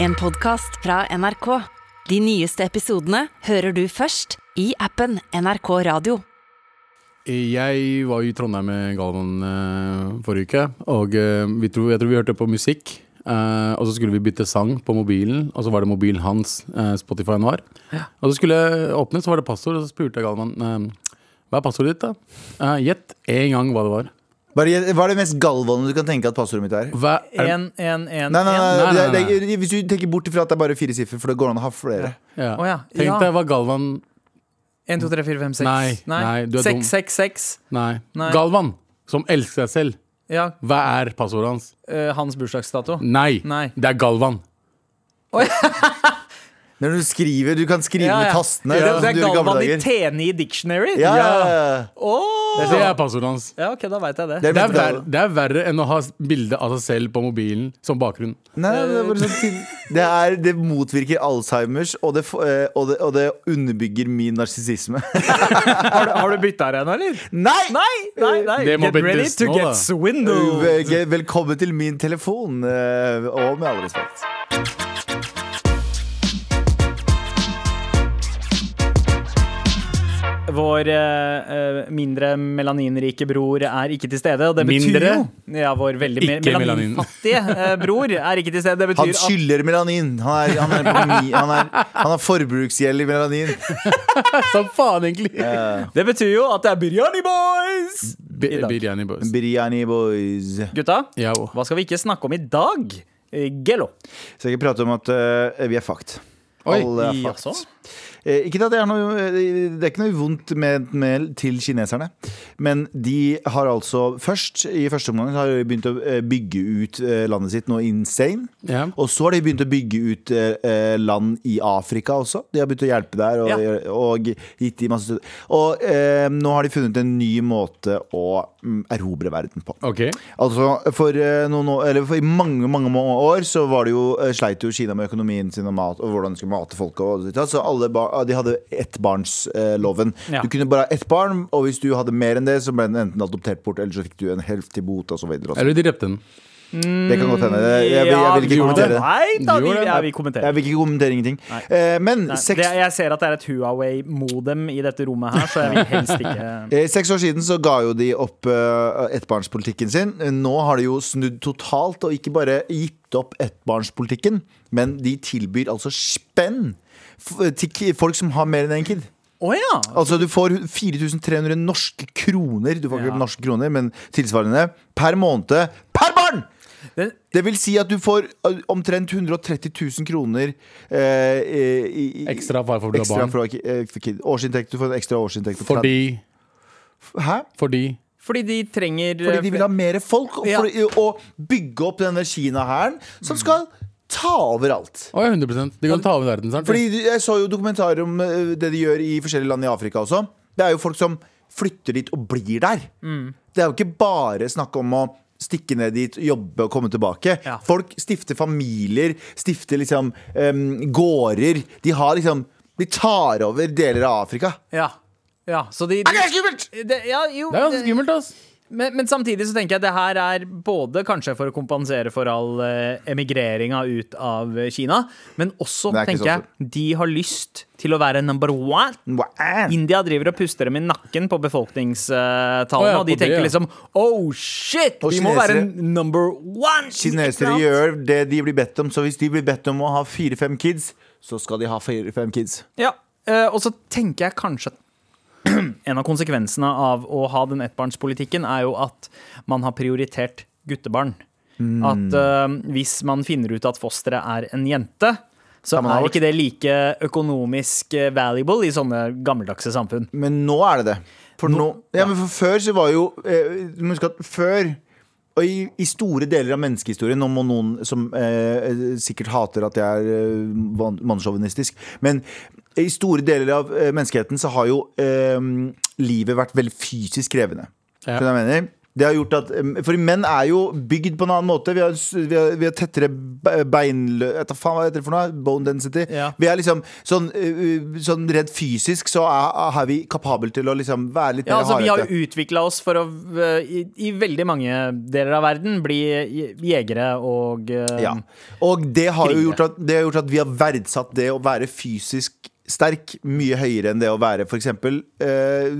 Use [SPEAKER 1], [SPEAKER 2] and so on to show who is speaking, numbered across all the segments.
[SPEAKER 1] En podcast fra NRK. De nyeste episodene hører du først i appen NRK Radio.
[SPEAKER 2] Jeg var jo i Trondheim med Galvan eh, forrige uke, og eh, vi tror, jeg tror vi hørte på musikk. eh, og så skulle vi bytte sang på mobilen, og så var det mobilen hans eh, Spotify-en var. Og så skulle jeg åpne, så var det passord, og så spurte jeg Galvan eh, hva er passordet ditt. da? Eh, Gjett én gang hva det var.
[SPEAKER 3] Bare, gjett- hva er det mest galvande du kan tenke at passordet mitt er?
[SPEAKER 2] Hva er,
[SPEAKER 4] En, en, en,
[SPEAKER 3] Nei, nei, nei,
[SPEAKER 4] en.
[SPEAKER 2] Nei, nei,
[SPEAKER 3] Det, er- det, er- Hvis du tenker bort ifra at det er bare fire siffer, for det går an å ha flere.
[SPEAKER 2] ja.
[SPEAKER 4] Å ja,
[SPEAKER 2] Tenk
[SPEAKER 4] ja.
[SPEAKER 2] deg hva Galvan
[SPEAKER 4] 1, 2, 3, 4, 5, 6
[SPEAKER 2] Nei, nei, du er dum.
[SPEAKER 4] 6, 6, 6
[SPEAKER 2] Nei.
[SPEAKER 4] Nei.
[SPEAKER 2] Galvan, som elsker seg selv.
[SPEAKER 4] Ja,
[SPEAKER 2] Hva er passordet hans?
[SPEAKER 4] eh, hans bursdagsdato
[SPEAKER 2] Nei.
[SPEAKER 4] Nei.
[SPEAKER 2] Det er Galvan.
[SPEAKER 3] Når du skriver, du kan skrive
[SPEAKER 4] Ja,
[SPEAKER 3] med
[SPEAKER 4] ja.
[SPEAKER 3] tastene.
[SPEAKER 4] Det,
[SPEAKER 3] sånn som
[SPEAKER 4] det
[SPEAKER 3] du gjorde
[SPEAKER 4] er
[SPEAKER 3] i gamle
[SPEAKER 4] Galvan i
[SPEAKER 3] dager.
[SPEAKER 4] Teni Dictionary
[SPEAKER 3] Ja, ja.
[SPEAKER 4] Åh!
[SPEAKER 2] Det er passordet hans.
[SPEAKER 4] Ja, ok, da vet jeg det
[SPEAKER 3] Det er
[SPEAKER 2] Det er,
[SPEAKER 3] mitt
[SPEAKER 2] verre,
[SPEAKER 3] gal-
[SPEAKER 2] det er verre enn å ha bilde av seg selv på mobilen som bakgrunn.
[SPEAKER 3] Nei, nei, det, er bare sånn, til- det, er, det motvirker Alzheimers, og det, f- eh, og det, og det underbygger min narsissisme.
[SPEAKER 4] Har du, har du byttet her ennå, eller?
[SPEAKER 3] Nei!
[SPEAKER 4] Nei, nei, nei
[SPEAKER 2] Det må
[SPEAKER 4] Get ready
[SPEAKER 2] byttes
[SPEAKER 4] to
[SPEAKER 2] nå, da.
[SPEAKER 4] get swindled
[SPEAKER 3] Vel- Velkommen til min telefon, eh, og med all respekt.
[SPEAKER 4] Vår eh, eh, mindre melaninrike bror er ikke til stede Og det betyr
[SPEAKER 2] Mindre?
[SPEAKER 4] jo Ja, vår veldig me-
[SPEAKER 2] Ikke melanin.
[SPEAKER 4] melaninfattige eh, bror er ikke til stede Det
[SPEAKER 3] Han
[SPEAKER 4] betyr at
[SPEAKER 3] skylder melanin. Han, er, han, er på mi, han, er, han har forbruksgjeld i melanin.
[SPEAKER 2] Som faen, egentlig!
[SPEAKER 4] Det betyr jo at det er Biryani Boys
[SPEAKER 2] Bi- Biryani boys.
[SPEAKER 3] Biryani boys.
[SPEAKER 4] Gutta,
[SPEAKER 2] Ja, oh. og-
[SPEAKER 4] hva skal vi ikke snakke om i dag? Eh, Gello
[SPEAKER 3] Så jeg kan prate om at eh, vi er fucked.
[SPEAKER 2] Oi.
[SPEAKER 3] Alle er fucked.
[SPEAKER 4] Jaså?
[SPEAKER 3] Eh, Ikke at det, er noe, eh, det er ikke noe vondt med, med til kineserne, men de har altså først i første omgang så har de begynt å eh, bygge ut eh, landet sitt noe insane.
[SPEAKER 2] Ja.
[SPEAKER 3] Og så har de begynt å bygge ut eh, eh, land i Afrika også. De har begynt å hjelpe der. Og, og, gitt de masse støtte. og eh, nå har de funnet en ny måte å mm, erobre verden på.
[SPEAKER 2] Ok.
[SPEAKER 3] Altså, for, eh, noen år, eller for i mange, mange, mange år så var det jo, eh, sleit jo Kina med økonomien sin og, mat, og hvordan de skulle mate folk. Og, alt sånt. så alle bar, de hadde ettbarnsloven.
[SPEAKER 4] Ja.
[SPEAKER 3] Du kunne bare ha ett barn, og hvis du hadde mer enn det, så ble den enten adoptert bort, eller så fikk du en helftig bot, og så videre. og så videre.
[SPEAKER 2] Eller de drepte den.
[SPEAKER 3] Det kan godt hende. Jeg, jeg, jeg, vil ikke
[SPEAKER 4] Mm, Ja,
[SPEAKER 3] kommentere det.
[SPEAKER 4] Nei da,
[SPEAKER 2] Du
[SPEAKER 4] vi,
[SPEAKER 2] gjorde det.
[SPEAKER 4] ja, vi kommenterer.
[SPEAKER 3] Jeg vil ikke kommentere ingenting. Eh, men
[SPEAKER 4] Nei,
[SPEAKER 3] seks,
[SPEAKER 4] det, jeg ser at det er et Huawei-modem i dette rommet her, så jeg vil helst ikke
[SPEAKER 3] eh, seks år siden så ga jo de opp eh, ettbarnspolitikken sin. Eh, Nå har de jo snudd totalt, og ikke bare gitt opp ettbarnspolitikken, men de tilbyr altså spenn f- eh, til k- folk som har mer enn én kid.
[SPEAKER 4] Å ja!
[SPEAKER 3] Altså Du får 4300 norske kroner, Du får ikke
[SPEAKER 4] Ja.
[SPEAKER 3] norske kroner, men tilsvarende, per måned per barn!
[SPEAKER 4] Det,
[SPEAKER 3] Det vil si at du får eh, omtrent 130 000 kroner eh, i, i,
[SPEAKER 2] Ekstra bare fordi du har
[SPEAKER 3] Ekstra
[SPEAKER 2] barn.
[SPEAKER 3] fra ki- eh, for kid. Årsinntekt, du får en ekstra årsinntekt. på
[SPEAKER 2] Fordi
[SPEAKER 3] tretti- Hæ?
[SPEAKER 2] Fordi
[SPEAKER 4] fordi de trenger
[SPEAKER 3] Fordi de vil ha mer folk, og,
[SPEAKER 4] Ja.
[SPEAKER 3] for, og bygge opp denne Kina-hæren som skal ta over alt.
[SPEAKER 2] Å ja, 100 De kan ta over verden, sant?
[SPEAKER 3] Fordi du- Jeg så jo dokumentarer om eh, det de gjør i forskjellige land i Afrika også. Det er jo folk som flytter dit og blir der.
[SPEAKER 4] Mm.
[SPEAKER 3] Det er jo ikke bare snakk om å stikke ned dit, jobbe og komme tilbake.
[SPEAKER 4] Ja.
[SPEAKER 3] Folk stifter familier, stifter liksom em, gårder. De har liksom De tar over deler av Afrika.
[SPEAKER 4] eh, Ja. ja så de, de det, ja, jo,
[SPEAKER 2] Det er ganske
[SPEAKER 4] det-
[SPEAKER 2] skummelt, ass.
[SPEAKER 4] men, men samtidig så tenker jeg at det her er både kanskje for å kompensere for all eh, emigreringa ut av eh, Kina, men også
[SPEAKER 3] Det er ikke
[SPEAKER 4] tenker
[SPEAKER 3] så
[SPEAKER 4] jeg de har lyst til å være number one.
[SPEAKER 3] Wow.
[SPEAKER 4] India driver og puster dem i nakken på befolkningstallene,
[SPEAKER 2] Å ja,
[SPEAKER 4] og
[SPEAKER 2] på
[SPEAKER 4] de
[SPEAKER 2] det,
[SPEAKER 4] tenker
[SPEAKER 2] ja.
[SPEAKER 4] liksom Oh shit!
[SPEAKER 3] Og
[SPEAKER 4] vi må være
[SPEAKER 3] kinesere-
[SPEAKER 4] number one!
[SPEAKER 3] Kinesere
[SPEAKER 4] Ikke sant?
[SPEAKER 3] gjør det de blir bedt om, så hvis de blir bedt om å ha fire-fem kids, så skal de ha fire-fem kids.
[SPEAKER 4] Ja, eh, Og så tenker jeg kanskje at en av konsekvensene av å ha den ettbarnspolitikken, er jo at man har prioritert guttebarn.
[SPEAKER 2] Mm.
[SPEAKER 4] At eh, hvis man finner ut at fosteret er en jente, så
[SPEAKER 3] Tar man
[SPEAKER 4] er
[SPEAKER 3] abort?
[SPEAKER 4] ikke det like økonomisk eh, valuable i sånne gammeldagse samfunn.
[SPEAKER 3] Men nå er det det. For, nå, ja, men for før så var jo eh, Du må huske at før og i, i store deler av menneskehistorien Nå må noen som eh, eh, sikkert hater at jeg er eh, van- mannssjåvinistisk Men i store deler av eh, menneskeheten så har jo eh, livet vært veldig fysisk krevende.
[SPEAKER 2] Ja.
[SPEAKER 3] Skjønner du hva jeg mener? Det har gjort at, eh, for menn er jo bygd på en annen måte. Vi har, vi har, vi har tettere be- beinlø... Vet da faen hva heter det for noe? Bone density.
[SPEAKER 4] Ja.
[SPEAKER 3] Vi er liksom sånn, eh, sånn redd fysisk så er, er vi kapable til å liksom være litt
[SPEAKER 4] Ja,
[SPEAKER 3] mer
[SPEAKER 4] altså, vi har
[SPEAKER 3] hardete.
[SPEAKER 4] jo utvikla oss for å eh, i, i veldig mange deler av verden bli je- jegere og eh,
[SPEAKER 3] Ja. Og det har jo
[SPEAKER 4] Krigere.
[SPEAKER 3] gjort at, det har gjort at vi har verdsatt det å være fysisk sterk mye høyere enn det å være f.eks. Eh,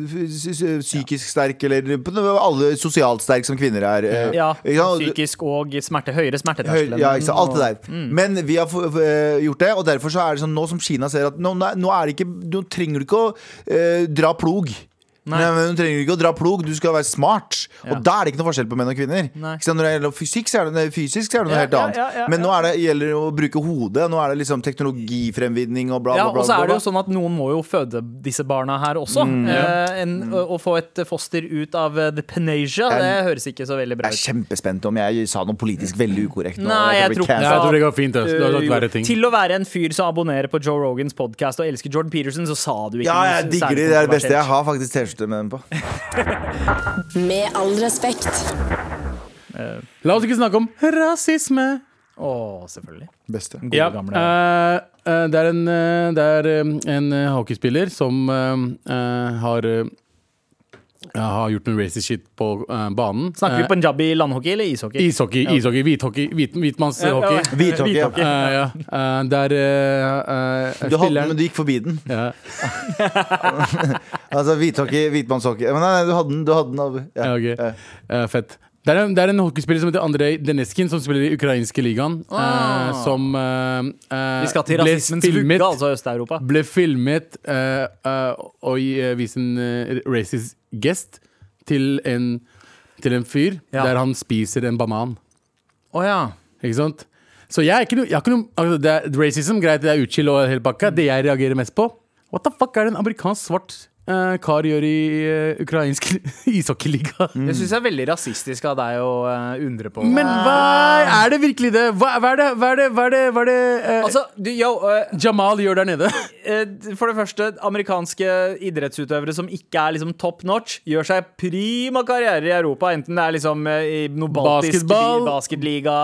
[SPEAKER 3] psy- psy- psykisk sterk eller på noe- alle sosialt sterk som kvinner er. eh,
[SPEAKER 4] ja,
[SPEAKER 3] ikke sant? Og-
[SPEAKER 4] psykisk og smerte. Høyere
[SPEAKER 3] Høy,
[SPEAKER 4] smerteterskel. enn
[SPEAKER 3] ja, ikke sant? Alt det
[SPEAKER 4] og-
[SPEAKER 3] der. Men vi har f- f- gjort det, og derfor så er det sånn nå som Kina ser at nå, nei, nå, er det ikke, nå trenger du ikke å eh, dra plog. Nei.
[SPEAKER 4] Nei.
[SPEAKER 3] men Du trenger ikke å dra plog, du skal være smart.
[SPEAKER 4] Ja.
[SPEAKER 3] Og da er det ikke noe forskjell på menn og kvinner.
[SPEAKER 4] Nei.
[SPEAKER 3] Ikke sant? Når det gjelder fysikk, så er det, nei, fysisk så er det noe
[SPEAKER 4] Ja,
[SPEAKER 3] helt
[SPEAKER 4] ja,
[SPEAKER 3] annet.
[SPEAKER 4] ja, ja,
[SPEAKER 3] men nå
[SPEAKER 4] ja.
[SPEAKER 3] er det, gjelder det å bruke hodet, nå er det liksom teknologifremvinning og bla,
[SPEAKER 4] Ja,
[SPEAKER 3] bla, bla.
[SPEAKER 4] og så er
[SPEAKER 3] bla,
[SPEAKER 4] det
[SPEAKER 3] bla. Mm,
[SPEAKER 4] jo sånn at noen må jo føde disse barna her også. Eh, en, å, å få et foster ut av eh, the penasia, det
[SPEAKER 3] Jeg-
[SPEAKER 4] høres ikke så veldig bra
[SPEAKER 3] Jeg er
[SPEAKER 4] ut.
[SPEAKER 3] kjempespent om jeg sa noe politisk veldig ukorrekt nå.
[SPEAKER 4] Nei, jeg tror
[SPEAKER 3] Altså-
[SPEAKER 2] Nei,
[SPEAKER 4] ikke
[SPEAKER 2] jeg tror det går fint. ass. Du har
[SPEAKER 4] Eh,
[SPEAKER 2] sagt
[SPEAKER 4] jo,
[SPEAKER 2] verre ting.
[SPEAKER 4] Til å være en fyr som abonnerer på Joe Rogans podkast og elsker Jordan Peterson, så sa du ikke
[SPEAKER 3] Ja,
[SPEAKER 4] noe
[SPEAKER 3] jeg digger
[SPEAKER 4] særlig
[SPEAKER 3] de. Det er det beste.
[SPEAKER 4] kontroversielt.
[SPEAKER 3] Jeg har faktisk T-skjorte med den på.
[SPEAKER 1] Med all respekt.
[SPEAKER 2] La oss ikke snakke om rasisme.
[SPEAKER 4] Å, selvfølgelig.
[SPEAKER 3] Beste.
[SPEAKER 4] Gode, gamle
[SPEAKER 2] eh, eh, det er en, eh, det er, eh, en eh, hockeyspiller som eh, eh, har eh, har gjort noe racist shit på eh, banen.
[SPEAKER 4] Snakker vi
[SPEAKER 2] Eh,
[SPEAKER 4] panjabi landhockey eller ishockey?
[SPEAKER 2] Ishockey, ishockey, hvithockey, hvit, hvitmannshockey.
[SPEAKER 4] Ja, ja.
[SPEAKER 3] Hvithockey. ja.
[SPEAKER 2] Eh, ja. Eh, der eh, eh,
[SPEAKER 3] Du, holdt,
[SPEAKER 2] spilleren
[SPEAKER 3] men du gikk forbi den.
[SPEAKER 2] ja.
[SPEAKER 3] Altså hvithockey, hvitmannshockey Men nei, nei, du hadde den, du hadde den av ja.
[SPEAKER 2] Ja, ok. Eh, fett. Det er, en, det er en hockeyspiller som heter Andrej Deneskin, som spiller i ukrainske ligaen. eh,
[SPEAKER 4] Ah.
[SPEAKER 2] som eh, eh,
[SPEAKER 4] Vi skal til
[SPEAKER 2] ble
[SPEAKER 4] rasismens vugge, altså Øst-Europa.
[SPEAKER 2] ble filmet eh, eh, og uh, viste en eh, racist gest til en, til en fyr
[SPEAKER 4] Ja.
[SPEAKER 2] der han spiser en banan.
[SPEAKER 4] Å ja.
[SPEAKER 2] Ikke sant? Så jeg er ikke noe, jeg har ikke noe altså det er, Racism, greit, det er utskill og hele pakka. Det jeg reagerer mest på What the fuck er det en amerikansk svart eh, kar gjør i eh, ukrainsk ishockeyliga?
[SPEAKER 4] Det syns jeg er veldig rasistisk av deg å eh, undre på.
[SPEAKER 2] Men hva er det virkelig det? Hva, hva er det, hva er det, hva er det, hva er det eh,
[SPEAKER 4] Altså, du, yo, eh,
[SPEAKER 2] Jamal gjør der nede?
[SPEAKER 4] eh, for det første, amerikanske idrettsutøvere som ikke er liksom top notch, gjør seg prima karriere i Europa, enten det er liksom eh, i noe baltisk
[SPEAKER 2] Basketball.
[SPEAKER 4] basketliga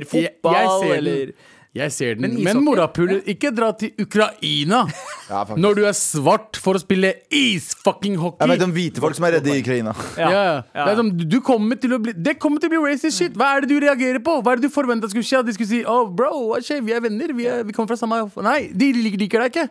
[SPEAKER 2] Jeg-
[SPEAKER 4] fotball
[SPEAKER 2] jeg ser den.
[SPEAKER 4] eller
[SPEAKER 2] Jeg ser den.
[SPEAKER 4] Men
[SPEAKER 2] Men,
[SPEAKER 4] ishockey?
[SPEAKER 2] morapuler, ikke dra til Ukraina
[SPEAKER 3] Ja, faktisk.
[SPEAKER 2] når du er svart for å spille is-fucking hockey!
[SPEAKER 3] Jeg vet om hvite folk som er redde i Ukraina
[SPEAKER 2] ja.
[SPEAKER 4] ja.
[SPEAKER 2] Det, er som, du kommer til å bli, det kommer til å bli racist shit! Hva er det du reagerer på? Hva er det du forventa skulle skje? At de skulle si oh, bro, hva skjer? vi er venner, vi, er, vi kommer fra samme Nei, de liker, liker deg ikke!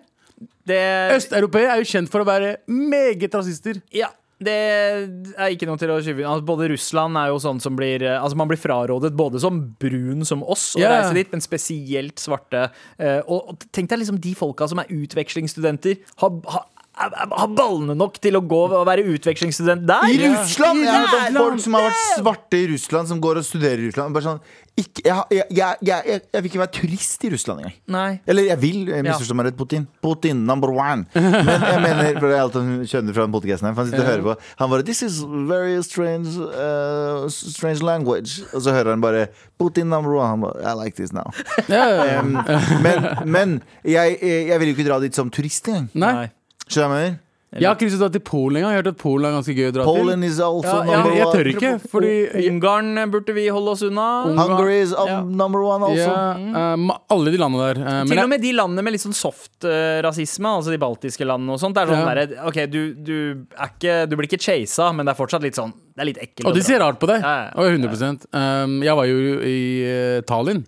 [SPEAKER 4] Det,
[SPEAKER 2] Østeuropeere er jo kjent for å være meget rasister.
[SPEAKER 4] ja, det er ikke noe til å skyve inn. Altså, både Russland er jo sånn som blir eh, Altså, man blir frarådet både som brun som oss å
[SPEAKER 2] Ja.
[SPEAKER 4] reise dit, men spesielt svarte. Eh, og, og tenk deg liksom de folka som er utvekslingsstudenter. Har, har, er- er- har ballene nok til å gå og være utvekslingsstudent der?
[SPEAKER 3] I Russland!
[SPEAKER 2] I
[SPEAKER 3] Jeg har hørt om
[SPEAKER 2] Russland.
[SPEAKER 3] folk som har vært svarte i Russland Som går og studerer i Russland Bare sånn, ikke, jeg, jeg, jeg, jeg, jeg, jeg vil ikke være turist i Russland engang
[SPEAKER 4] Nei.
[SPEAKER 3] Eller jeg vil, jeg misforstår meg rett, Putin Putin number one Men jeg mener, for det er alt han skjønner fra den podcasten her For han sitter og hører på Han bare, this is very strange uh, Strange language Og så hører han bare, Putin number one Han bare, I like this now
[SPEAKER 2] Eh,
[SPEAKER 3] um, Men, men jeg, eh, jeg vil jo ikke dra dit som turist engang
[SPEAKER 2] Nei.
[SPEAKER 3] Skjønner du hva jeg mener?
[SPEAKER 2] Jeg har ikke lyst til å dra til Polen engang. Jeg har hørt at Polen er ganske gøy å dra
[SPEAKER 3] Poland is also
[SPEAKER 2] til. Jeg,
[SPEAKER 3] number
[SPEAKER 2] jeg
[SPEAKER 3] one
[SPEAKER 2] tør ikke, fordi
[SPEAKER 4] Ungarn burde vi holde oss unna.
[SPEAKER 3] Hungary is um,
[SPEAKER 2] Ja.
[SPEAKER 3] number one also
[SPEAKER 2] Ja, eh, ma- alle de landene der. eh, men
[SPEAKER 4] Mm. Til
[SPEAKER 2] jeg-
[SPEAKER 4] og med de landene med litt sånn soft eh, rasisme, altså de baltiske landene og sånt, det er sånn
[SPEAKER 2] Ja.
[SPEAKER 4] derre OK, du, du, er ikke, du blir ikke chasa, men det er fortsatt litt sånn Det er litt ekkelt.
[SPEAKER 2] og de
[SPEAKER 4] å dra.
[SPEAKER 2] ser rart på deg.
[SPEAKER 4] Ja, ja,
[SPEAKER 2] Og 100 um, Jeg var jo i eh, Tallinn.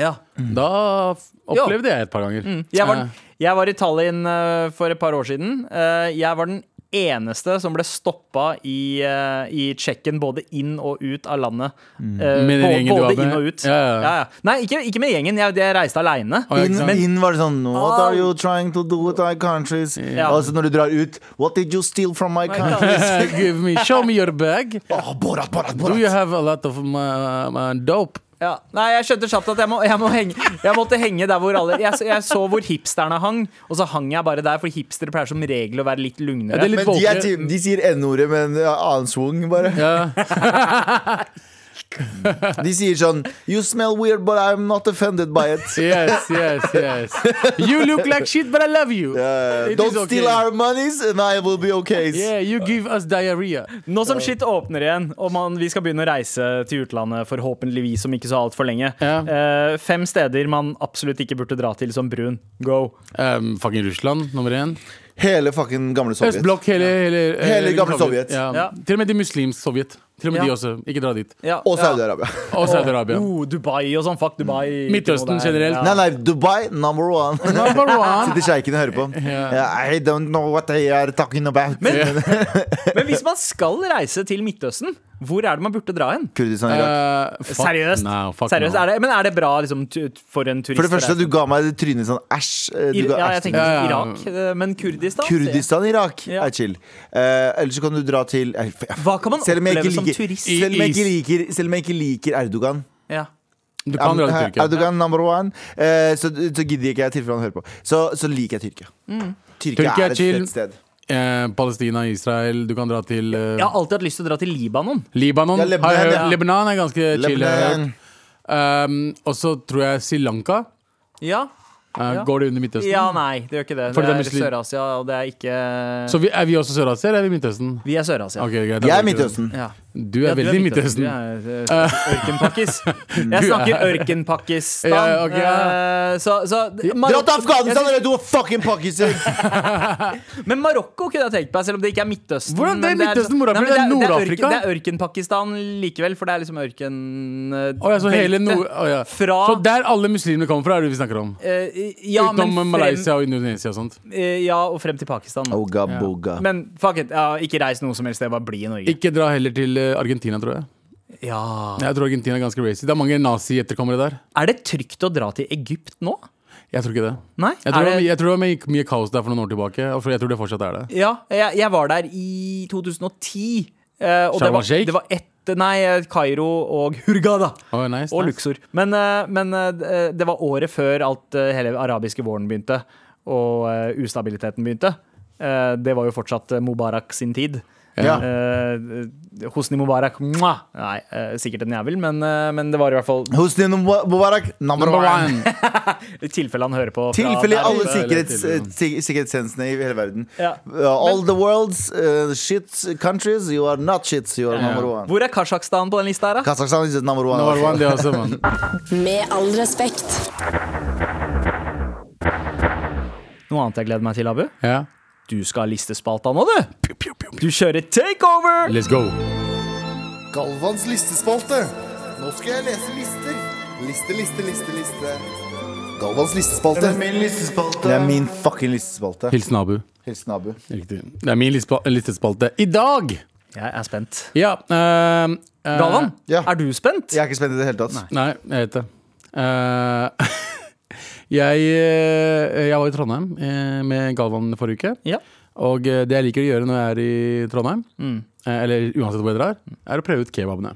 [SPEAKER 4] Ja.
[SPEAKER 2] Mm. Da f- opplevde jeg et par ganger.
[SPEAKER 4] Mm. Jeg, var,
[SPEAKER 2] Eh,
[SPEAKER 4] jeg var i Tallinn eh, for et par år siden. Eh, jeg var den eneste som ble stoppa i, eh, i checken både inn og ut av landet. Eh,
[SPEAKER 2] Mm. Med den
[SPEAKER 4] bå-
[SPEAKER 2] gjengen du
[SPEAKER 4] både
[SPEAKER 2] var med?
[SPEAKER 4] inn og ut.
[SPEAKER 2] Ja, ja, ja.
[SPEAKER 4] Nei, ikke, ikke med gjengen. Jeg, jeg reiste aleine.
[SPEAKER 2] Å, ja,
[SPEAKER 3] In,
[SPEAKER 2] ikke sant? Ah.
[SPEAKER 3] in var det sånn What are you trying to do with my countries?
[SPEAKER 4] Ja.
[SPEAKER 3] Altså når du drar ut What did you steal from my countries?
[SPEAKER 2] Eh, give me, show me your bag.
[SPEAKER 3] Åh, borat, borat,
[SPEAKER 2] Do
[SPEAKER 3] borat
[SPEAKER 2] you have a lot of my, my dope?
[SPEAKER 4] Ja. Nei, jeg skjønte kjapt at jeg, må, jeg, må henge, jeg måtte henge der hvor alle jeg, jeg så hvor hipsterne hang, og så hang jeg bare der, for hipstere pleier som regel å være litt
[SPEAKER 2] Ja,
[SPEAKER 4] lugnere.
[SPEAKER 2] det er litt
[SPEAKER 3] Men de, er,
[SPEAKER 2] våkere. Uh,
[SPEAKER 3] ti- de sier N-ordet med en annen swung bare
[SPEAKER 2] Ja.
[SPEAKER 3] De sier sånn You smell weird, but I'm not offended by it.
[SPEAKER 2] Yes, yes, yes. You look like shit, but I love you.
[SPEAKER 3] Eh,
[SPEAKER 2] It
[SPEAKER 3] don't
[SPEAKER 2] is okay.
[SPEAKER 3] steal our monies, and I will be okay.
[SPEAKER 2] Yeah, you give us diarrhea.
[SPEAKER 4] Nå som shit åpner igjen, og man, vi skal begynne å reise til utlandet forhåpentligvis om ikke så altfor lenge
[SPEAKER 2] Ja.
[SPEAKER 4] eh, Fem steder man absolutt ikke burde dra til som brun. Go.
[SPEAKER 2] Um, fucking Russland, nummer én.
[SPEAKER 3] Hele fucking gamle Sovjet.
[SPEAKER 2] Østblokk, hele, hele,
[SPEAKER 3] Hele gamle Sovjet.
[SPEAKER 2] Ja.
[SPEAKER 4] Ja.
[SPEAKER 2] Til og med de muslims Sovjet. Til og med
[SPEAKER 4] Ja.
[SPEAKER 2] de også. Ikke dra dit.
[SPEAKER 4] Ja,
[SPEAKER 3] Og
[SPEAKER 4] ja.
[SPEAKER 3] Saudi-Arabia. Mm.
[SPEAKER 2] Og Saudi-Arabia.
[SPEAKER 4] Oh, Dubai og sånn. Fuck Dubai.
[SPEAKER 2] Midtøsten generelt.
[SPEAKER 3] Nei, nei, Dubai, number one.
[SPEAKER 2] Number one.
[SPEAKER 3] Sitter sjeiken og hører på. Yeah, I don't know what they are talking about.
[SPEAKER 4] Men hvis man skal reise til Midtøsten, hvor er det man burde dra hen?
[SPEAKER 3] Kurdistan, Irak.
[SPEAKER 2] Eh, fuck
[SPEAKER 4] Seriøst?
[SPEAKER 2] No, fuck
[SPEAKER 4] Seriøst,
[SPEAKER 2] no.
[SPEAKER 4] er det, men er det bra liksom, tu- for en turist?
[SPEAKER 3] For det første,
[SPEAKER 4] å reise?
[SPEAKER 3] du ga meg det trynet sånn æsj. eh, Du
[SPEAKER 4] Ir-
[SPEAKER 3] ga,
[SPEAKER 4] ja,
[SPEAKER 3] æsj
[SPEAKER 4] jeg
[SPEAKER 3] til-
[SPEAKER 4] tenkte
[SPEAKER 2] Ja, ja.
[SPEAKER 4] Irak, eh, men Kurdistan?
[SPEAKER 3] Kurdistan, Irak
[SPEAKER 4] Ja.
[SPEAKER 3] er chill. Eh, ellers så kan du dra til eh, f-
[SPEAKER 4] Hva kan man
[SPEAKER 3] selv om jeg ikke
[SPEAKER 4] oppleve som
[SPEAKER 3] liker-
[SPEAKER 4] turist?
[SPEAKER 3] Selv om jeg ikke
[SPEAKER 2] Is.
[SPEAKER 3] liker, selv om jeg ikke liker Erdogan
[SPEAKER 4] Ja.
[SPEAKER 2] Du kan dra til Tyrkia.
[SPEAKER 3] Erdogan number one. Eh, så, så gidder ikke jeg i tilfelle han hører på. Så, så liker jeg Tyrkia.
[SPEAKER 4] Mm.
[SPEAKER 3] Tyrkia,
[SPEAKER 2] Tyrkia er
[SPEAKER 3] er et
[SPEAKER 2] chill.
[SPEAKER 3] fett sted.
[SPEAKER 2] Eh, Palestina, Israel. Du kan dra til eh,
[SPEAKER 4] Jeg har alltid hatt lyst til å dra til Libanon.
[SPEAKER 2] Libanon.
[SPEAKER 3] Ja,
[SPEAKER 2] Ja,
[SPEAKER 3] Lebanon,
[SPEAKER 2] Lebanon,
[SPEAKER 3] ja.
[SPEAKER 2] Lebanon er ganske chill. har jeg hørt.
[SPEAKER 3] Lebanon.
[SPEAKER 2] Um, og så tror jeg Sri Lanka.
[SPEAKER 4] Ja,
[SPEAKER 2] Eh,
[SPEAKER 4] Ja.
[SPEAKER 2] Går det under Midtøsten?
[SPEAKER 4] ja nei, det gjør ikke det.
[SPEAKER 2] For det er
[SPEAKER 4] Det er
[SPEAKER 2] muslim-
[SPEAKER 4] Sør-Asia, og det er ikke
[SPEAKER 2] Så vi, er vi også Sør-Asia, eller er vi Midtøsten?
[SPEAKER 4] Vi er Sør-Asia.
[SPEAKER 2] Ok, greit, da
[SPEAKER 3] Jeg er
[SPEAKER 2] går vi til
[SPEAKER 3] Midtøsten.
[SPEAKER 4] Ja.
[SPEAKER 2] den. Du er veldig Midtøsten.
[SPEAKER 4] Du er, eh, Ørkenpakkis. Jeg snakker ørkenpakkistan.
[SPEAKER 2] Ja, ok, ja.
[SPEAKER 4] Eh, Så, så
[SPEAKER 3] Dra til
[SPEAKER 4] Marokko-
[SPEAKER 3] Afghanistan eller du er fucking Pakistan!
[SPEAKER 4] Men Marokko kunne jeg tenkt meg, selv om det ikke er Midtøsten.
[SPEAKER 2] Hvordan det er
[SPEAKER 4] men
[SPEAKER 2] Midtøsten,
[SPEAKER 4] liksom-
[SPEAKER 2] mora?
[SPEAKER 4] Nei, men
[SPEAKER 2] Det er
[SPEAKER 4] det
[SPEAKER 2] Nord-Afrika.
[SPEAKER 4] ørken- Det er ørkenpakistan likevel, for det er liksom ørken... eh,
[SPEAKER 2] Å, ja, så hele
[SPEAKER 4] belte.
[SPEAKER 2] nord... Å, ja.
[SPEAKER 4] Fra-
[SPEAKER 2] Så der alle muslimene kommer fra, er det vi snakker om?
[SPEAKER 4] Eh, ja,
[SPEAKER 2] Utenom
[SPEAKER 4] men frem,
[SPEAKER 2] Malaysia og Indonesia og sånt.
[SPEAKER 4] eh, ja, og frem til Pakistan.
[SPEAKER 3] Oga boga.
[SPEAKER 4] Men fuck it, ja, ikke reis noe som helst sted, bare bli i Norge.
[SPEAKER 2] Ikke dra heller til eh, Argentina, tror jeg.
[SPEAKER 4] Ja.
[SPEAKER 2] Jeg tror Argentina er ganske racy. Det er mange nazi-etterkommere der.
[SPEAKER 4] Er det trygt å dra til Egypt nå?
[SPEAKER 2] Jeg tror ikke det.
[SPEAKER 4] Nei?
[SPEAKER 2] Jeg tror,
[SPEAKER 4] er
[SPEAKER 2] det...
[SPEAKER 4] det,
[SPEAKER 2] jeg tror det var mye- mye kaos der for noen år tilbake, og for- jeg tror det fortsatt er det.
[SPEAKER 4] ja, jeg, jeg var der i 2010. eh, og det
[SPEAKER 2] Sharm el
[SPEAKER 4] var,
[SPEAKER 2] Sheikh?
[SPEAKER 4] det var ett Nei, eh, Kairo og Hurghada.
[SPEAKER 2] Å, nice,
[SPEAKER 4] Og
[SPEAKER 2] nice.
[SPEAKER 4] Luxor. Men, eh, men eh, det var året før alt eh, hele arabiske våren begynte, og eh, ustabiliteten begynte. Eh, Det var jo fortsatt eh, Mubarak sin tid.
[SPEAKER 3] Ja.
[SPEAKER 4] Eh, Hosni Mubarak mwah! Nei, eh, sikkert en jævel, men, eh, men det var i hvert fall
[SPEAKER 3] Hosni Mubarak, number
[SPEAKER 2] Number
[SPEAKER 3] one.
[SPEAKER 2] one.
[SPEAKER 4] i tilfelle han hører på. fra
[SPEAKER 3] Tilfelle i
[SPEAKER 4] der.
[SPEAKER 3] alle
[SPEAKER 2] Ja,
[SPEAKER 3] sikkerhets,
[SPEAKER 2] eller tilfelle.
[SPEAKER 3] sik- sikkerhetstjenestene i hele verden.
[SPEAKER 4] Ja.
[SPEAKER 3] Uh, all the world's uh, shit countries, you are not shits, you are number one.
[SPEAKER 4] Hvor er Kasjokstan på den lista her, da?
[SPEAKER 3] Kasakhstan is number one.
[SPEAKER 2] Number one, det også, mann.
[SPEAKER 1] Med all respekt.
[SPEAKER 4] Noe annet jeg gleder meg til, Abu?
[SPEAKER 2] Ja.
[SPEAKER 4] Du skal ha listespalta nå, du! Du kjører takeover!
[SPEAKER 2] Let's go.
[SPEAKER 5] Galvans listespalte. Nå skal jeg lese lister. Liste, liste, liste, liste. Galvans listespalte.
[SPEAKER 3] Det er min fucking listespalte.
[SPEAKER 2] Hilsen Abu.
[SPEAKER 3] Hilsen Abu.
[SPEAKER 2] Riktig. Det er min lispa- listespalte i dag!
[SPEAKER 4] Jeg er spent.
[SPEAKER 2] Ja. ehm, eh,
[SPEAKER 4] Galvan,
[SPEAKER 3] Ja.
[SPEAKER 4] er du spent?
[SPEAKER 3] Jeg er ikke spent i det hele tatt.
[SPEAKER 2] Nei, jeg vet det. Eh, jeg, eh, jeg var i Trondheim eh, med Galvan forrige uke.
[SPEAKER 4] Ja.
[SPEAKER 2] Og eh, det jeg liker å gjøre når jeg er i Trondheim,
[SPEAKER 4] Mm.
[SPEAKER 2] eh, eller uansett hvor jeg drar, er å prøve ut kebabene.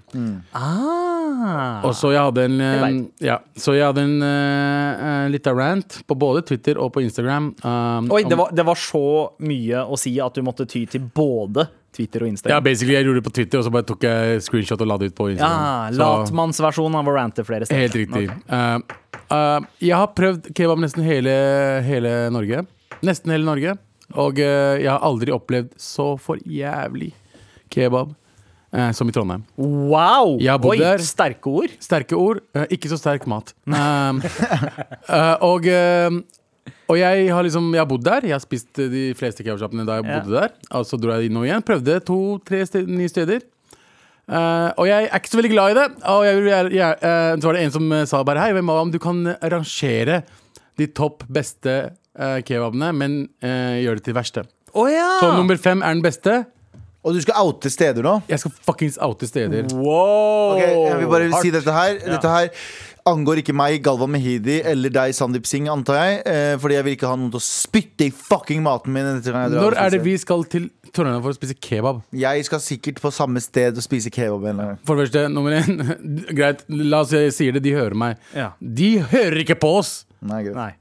[SPEAKER 4] Ah.
[SPEAKER 2] Og så jeg hadde en, eh,
[SPEAKER 4] Jeg
[SPEAKER 2] ja, så jeg hadde en eh, eh, liten rant på både Twitter og på Instagram. eh,
[SPEAKER 4] Oi,
[SPEAKER 2] om-
[SPEAKER 4] det var, det var så mye å si at du måtte ty til både Twitter og
[SPEAKER 2] Ja,
[SPEAKER 4] Instagram.
[SPEAKER 2] basically, jeg gjorde det på Twitter, og så bare tok jeg screenshot og la det ut på
[SPEAKER 4] Ja,
[SPEAKER 2] Instagram. Så-
[SPEAKER 4] Ah, Latmannsversjonen av å rante flere steder.
[SPEAKER 2] Helt riktig. Eh, eh, jeg har prøvd kebab nesten hele, hele Norge. Nesten hele Norge. Og eh, jeg har aldri opplevd så for jævlig kebab eh, som i Trondheim.
[SPEAKER 4] Wow!
[SPEAKER 2] Jeg har bodd
[SPEAKER 4] Oi,
[SPEAKER 2] der.
[SPEAKER 4] sterke ord.
[SPEAKER 2] Sterke ord, eh, ikke så sterk mat. Um, eh, og eh, og jeg, har liksom, jeg har bodd der. Jeg har spist eh, de fleste kebabsjappene da jeg
[SPEAKER 4] Ja.
[SPEAKER 2] bodde der. Og så dro jeg innom igjen. Prøvde to-tre sted, nye steder. Eh, og jeg er ikke så veldig glad i det. Og jeg, vil gjerne- jeg, eh, så var det en som eh, sa bare Hei, hvem om du kan eh, rangere de topp beste eh, kebabene, men eh, gjør det til det verste.
[SPEAKER 4] Å ja!
[SPEAKER 2] Så nummer fem er den beste.
[SPEAKER 3] Og du skal oute steder nå?
[SPEAKER 2] Jeg skal fuckings oute steder.
[SPEAKER 4] Wow!
[SPEAKER 3] Ok, jeg vil bare si
[SPEAKER 4] Hardt.
[SPEAKER 3] dette her. Dette her angår ikke meg, Galvan Mehidi, eller deg, Sandeep Singh, antar jeg. Eh, fordi jeg vil ikke ha noen til å spytte i fucking maten min. neste gang jeg drar
[SPEAKER 2] Når
[SPEAKER 3] og
[SPEAKER 2] er det
[SPEAKER 3] spiser.
[SPEAKER 2] vi skal til Trondheim for å spise kebab?
[SPEAKER 3] Jeg skal sikkert på samme sted og spise kebab. en eller annen gang.
[SPEAKER 2] For det første, nummer én Greit, la oss si jeg sier det, de hører meg.
[SPEAKER 4] Ja.
[SPEAKER 2] De hører ikke på oss!
[SPEAKER 3] Nei, greit.
[SPEAKER 4] Nei.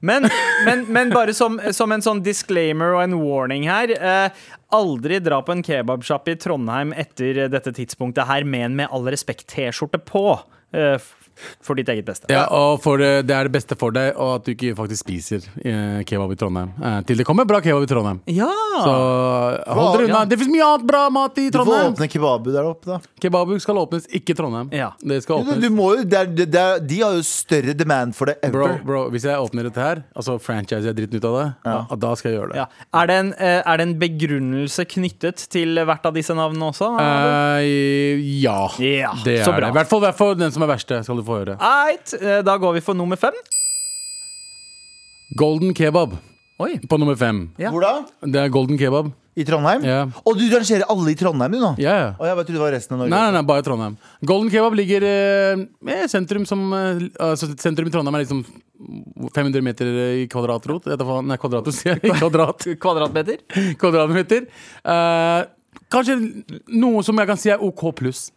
[SPEAKER 4] Men, men, men bare som, som en sånn disclaimer og en warning her. Eh, aldri dra på en kebabsjapp i Trondheim etter dette tidspunktet her med en med all respekt T-skjorte på. Eh, f- for ditt eget beste.
[SPEAKER 2] Ja, og for, eh, Det er det beste for deg, og at du ikke faktisk spiser eh, kebab i Trondheim. Eh, Til det kommer bra kebab i Trondheim.
[SPEAKER 4] Ja!
[SPEAKER 2] Så hold dere unna. Det fins mye annet bra mat i
[SPEAKER 3] Du får
[SPEAKER 2] Trondheim!
[SPEAKER 3] åpne kebabu der oppe, da.
[SPEAKER 2] Kebabu skal åpnes, ikke Trondheim.
[SPEAKER 4] Ja.
[SPEAKER 2] Det skal
[SPEAKER 3] Du,
[SPEAKER 2] åpnes.
[SPEAKER 3] du må jo, det er, det er, de har jo større demand for det ever.
[SPEAKER 2] Bro, bro, hvis jeg åpner dette her, altså franchiser jeg dritten ut av det, da, da skal jeg gjøre det.
[SPEAKER 4] ja. Er, det en, eh, er det en begrunnelse knyttet til hvert av disse navnene også?
[SPEAKER 2] Eh, ja.
[SPEAKER 4] Ja,
[SPEAKER 2] det
[SPEAKER 4] så
[SPEAKER 2] er
[SPEAKER 4] bra.
[SPEAKER 2] det. I hvert fall hvert fall den som er verste, skal du få høre.
[SPEAKER 4] Eit, eh, da går vi for nummer fem.
[SPEAKER 2] Golden kebab
[SPEAKER 4] Oi.
[SPEAKER 2] på nummer fem.
[SPEAKER 4] Ja.
[SPEAKER 3] Hvor da?
[SPEAKER 2] Det er golden kebab.
[SPEAKER 3] I Trondheim?
[SPEAKER 2] Ja.
[SPEAKER 3] Og du rangerer alle i Trondheim, du nå?
[SPEAKER 2] Ja, ja.
[SPEAKER 3] Og jeg bare trodde det var resten av Norge.
[SPEAKER 2] Nei, nei, nei, bare Trondheim. Golden kebab ligger eh, eh, sentrum som eh, altså, Sentrum i Trondheim er liksom 500 meter i kvadratrot. Jeg vet da faen- Nei, kvadratrot, sier jeg. Kvadrat,
[SPEAKER 4] Kvadratmeter.
[SPEAKER 2] kvadratmeter. Eh, kanskje noe som jeg kan si er OK pluss.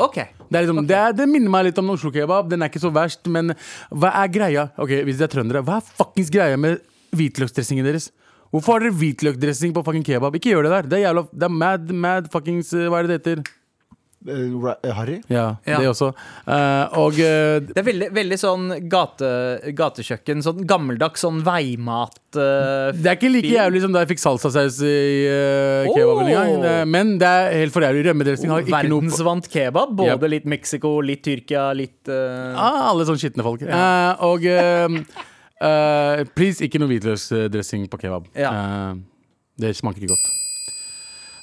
[SPEAKER 4] OK.
[SPEAKER 2] Det, er liksom, det, er- det minner meg litt om Oslo kebab. Den er ikke så verst, men hva er greia? Ok, Hvis det er trøndere, hva er fuckings greia med hvitløksdressingen deres? Hvorfor har dere hvitløkdressing på fucking kebab? Ikke gjør det der. Det er jævla Det er mad, mad fuckings eh, Hva er det det heter?
[SPEAKER 3] Eh, ra- eh, Harry?
[SPEAKER 2] Ja,
[SPEAKER 4] Ja.
[SPEAKER 2] det også. Eh, og eh,
[SPEAKER 4] Det er veldig, veldig sånn gate, gatekjøkken, sånn gammeldags sånn veimat. eh,
[SPEAKER 2] Det er ikke like jævlig som da jeg fikk salsasaus i uh, kebaben en gang.
[SPEAKER 4] Oh.
[SPEAKER 2] Det- Men det er helt for jævlig. Rømmedressing har ikke noe på.
[SPEAKER 4] Verdensvant kebab. Både
[SPEAKER 2] Ja.
[SPEAKER 4] litt Mexico, litt Tyrkia, litt eh,
[SPEAKER 2] Ah, alle sånne skitne folk. Eh, og eh, eh, please, ikke noe hvitløksdressing på kebab.
[SPEAKER 4] Ja.
[SPEAKER 2] Eh, det smaker ikke godt.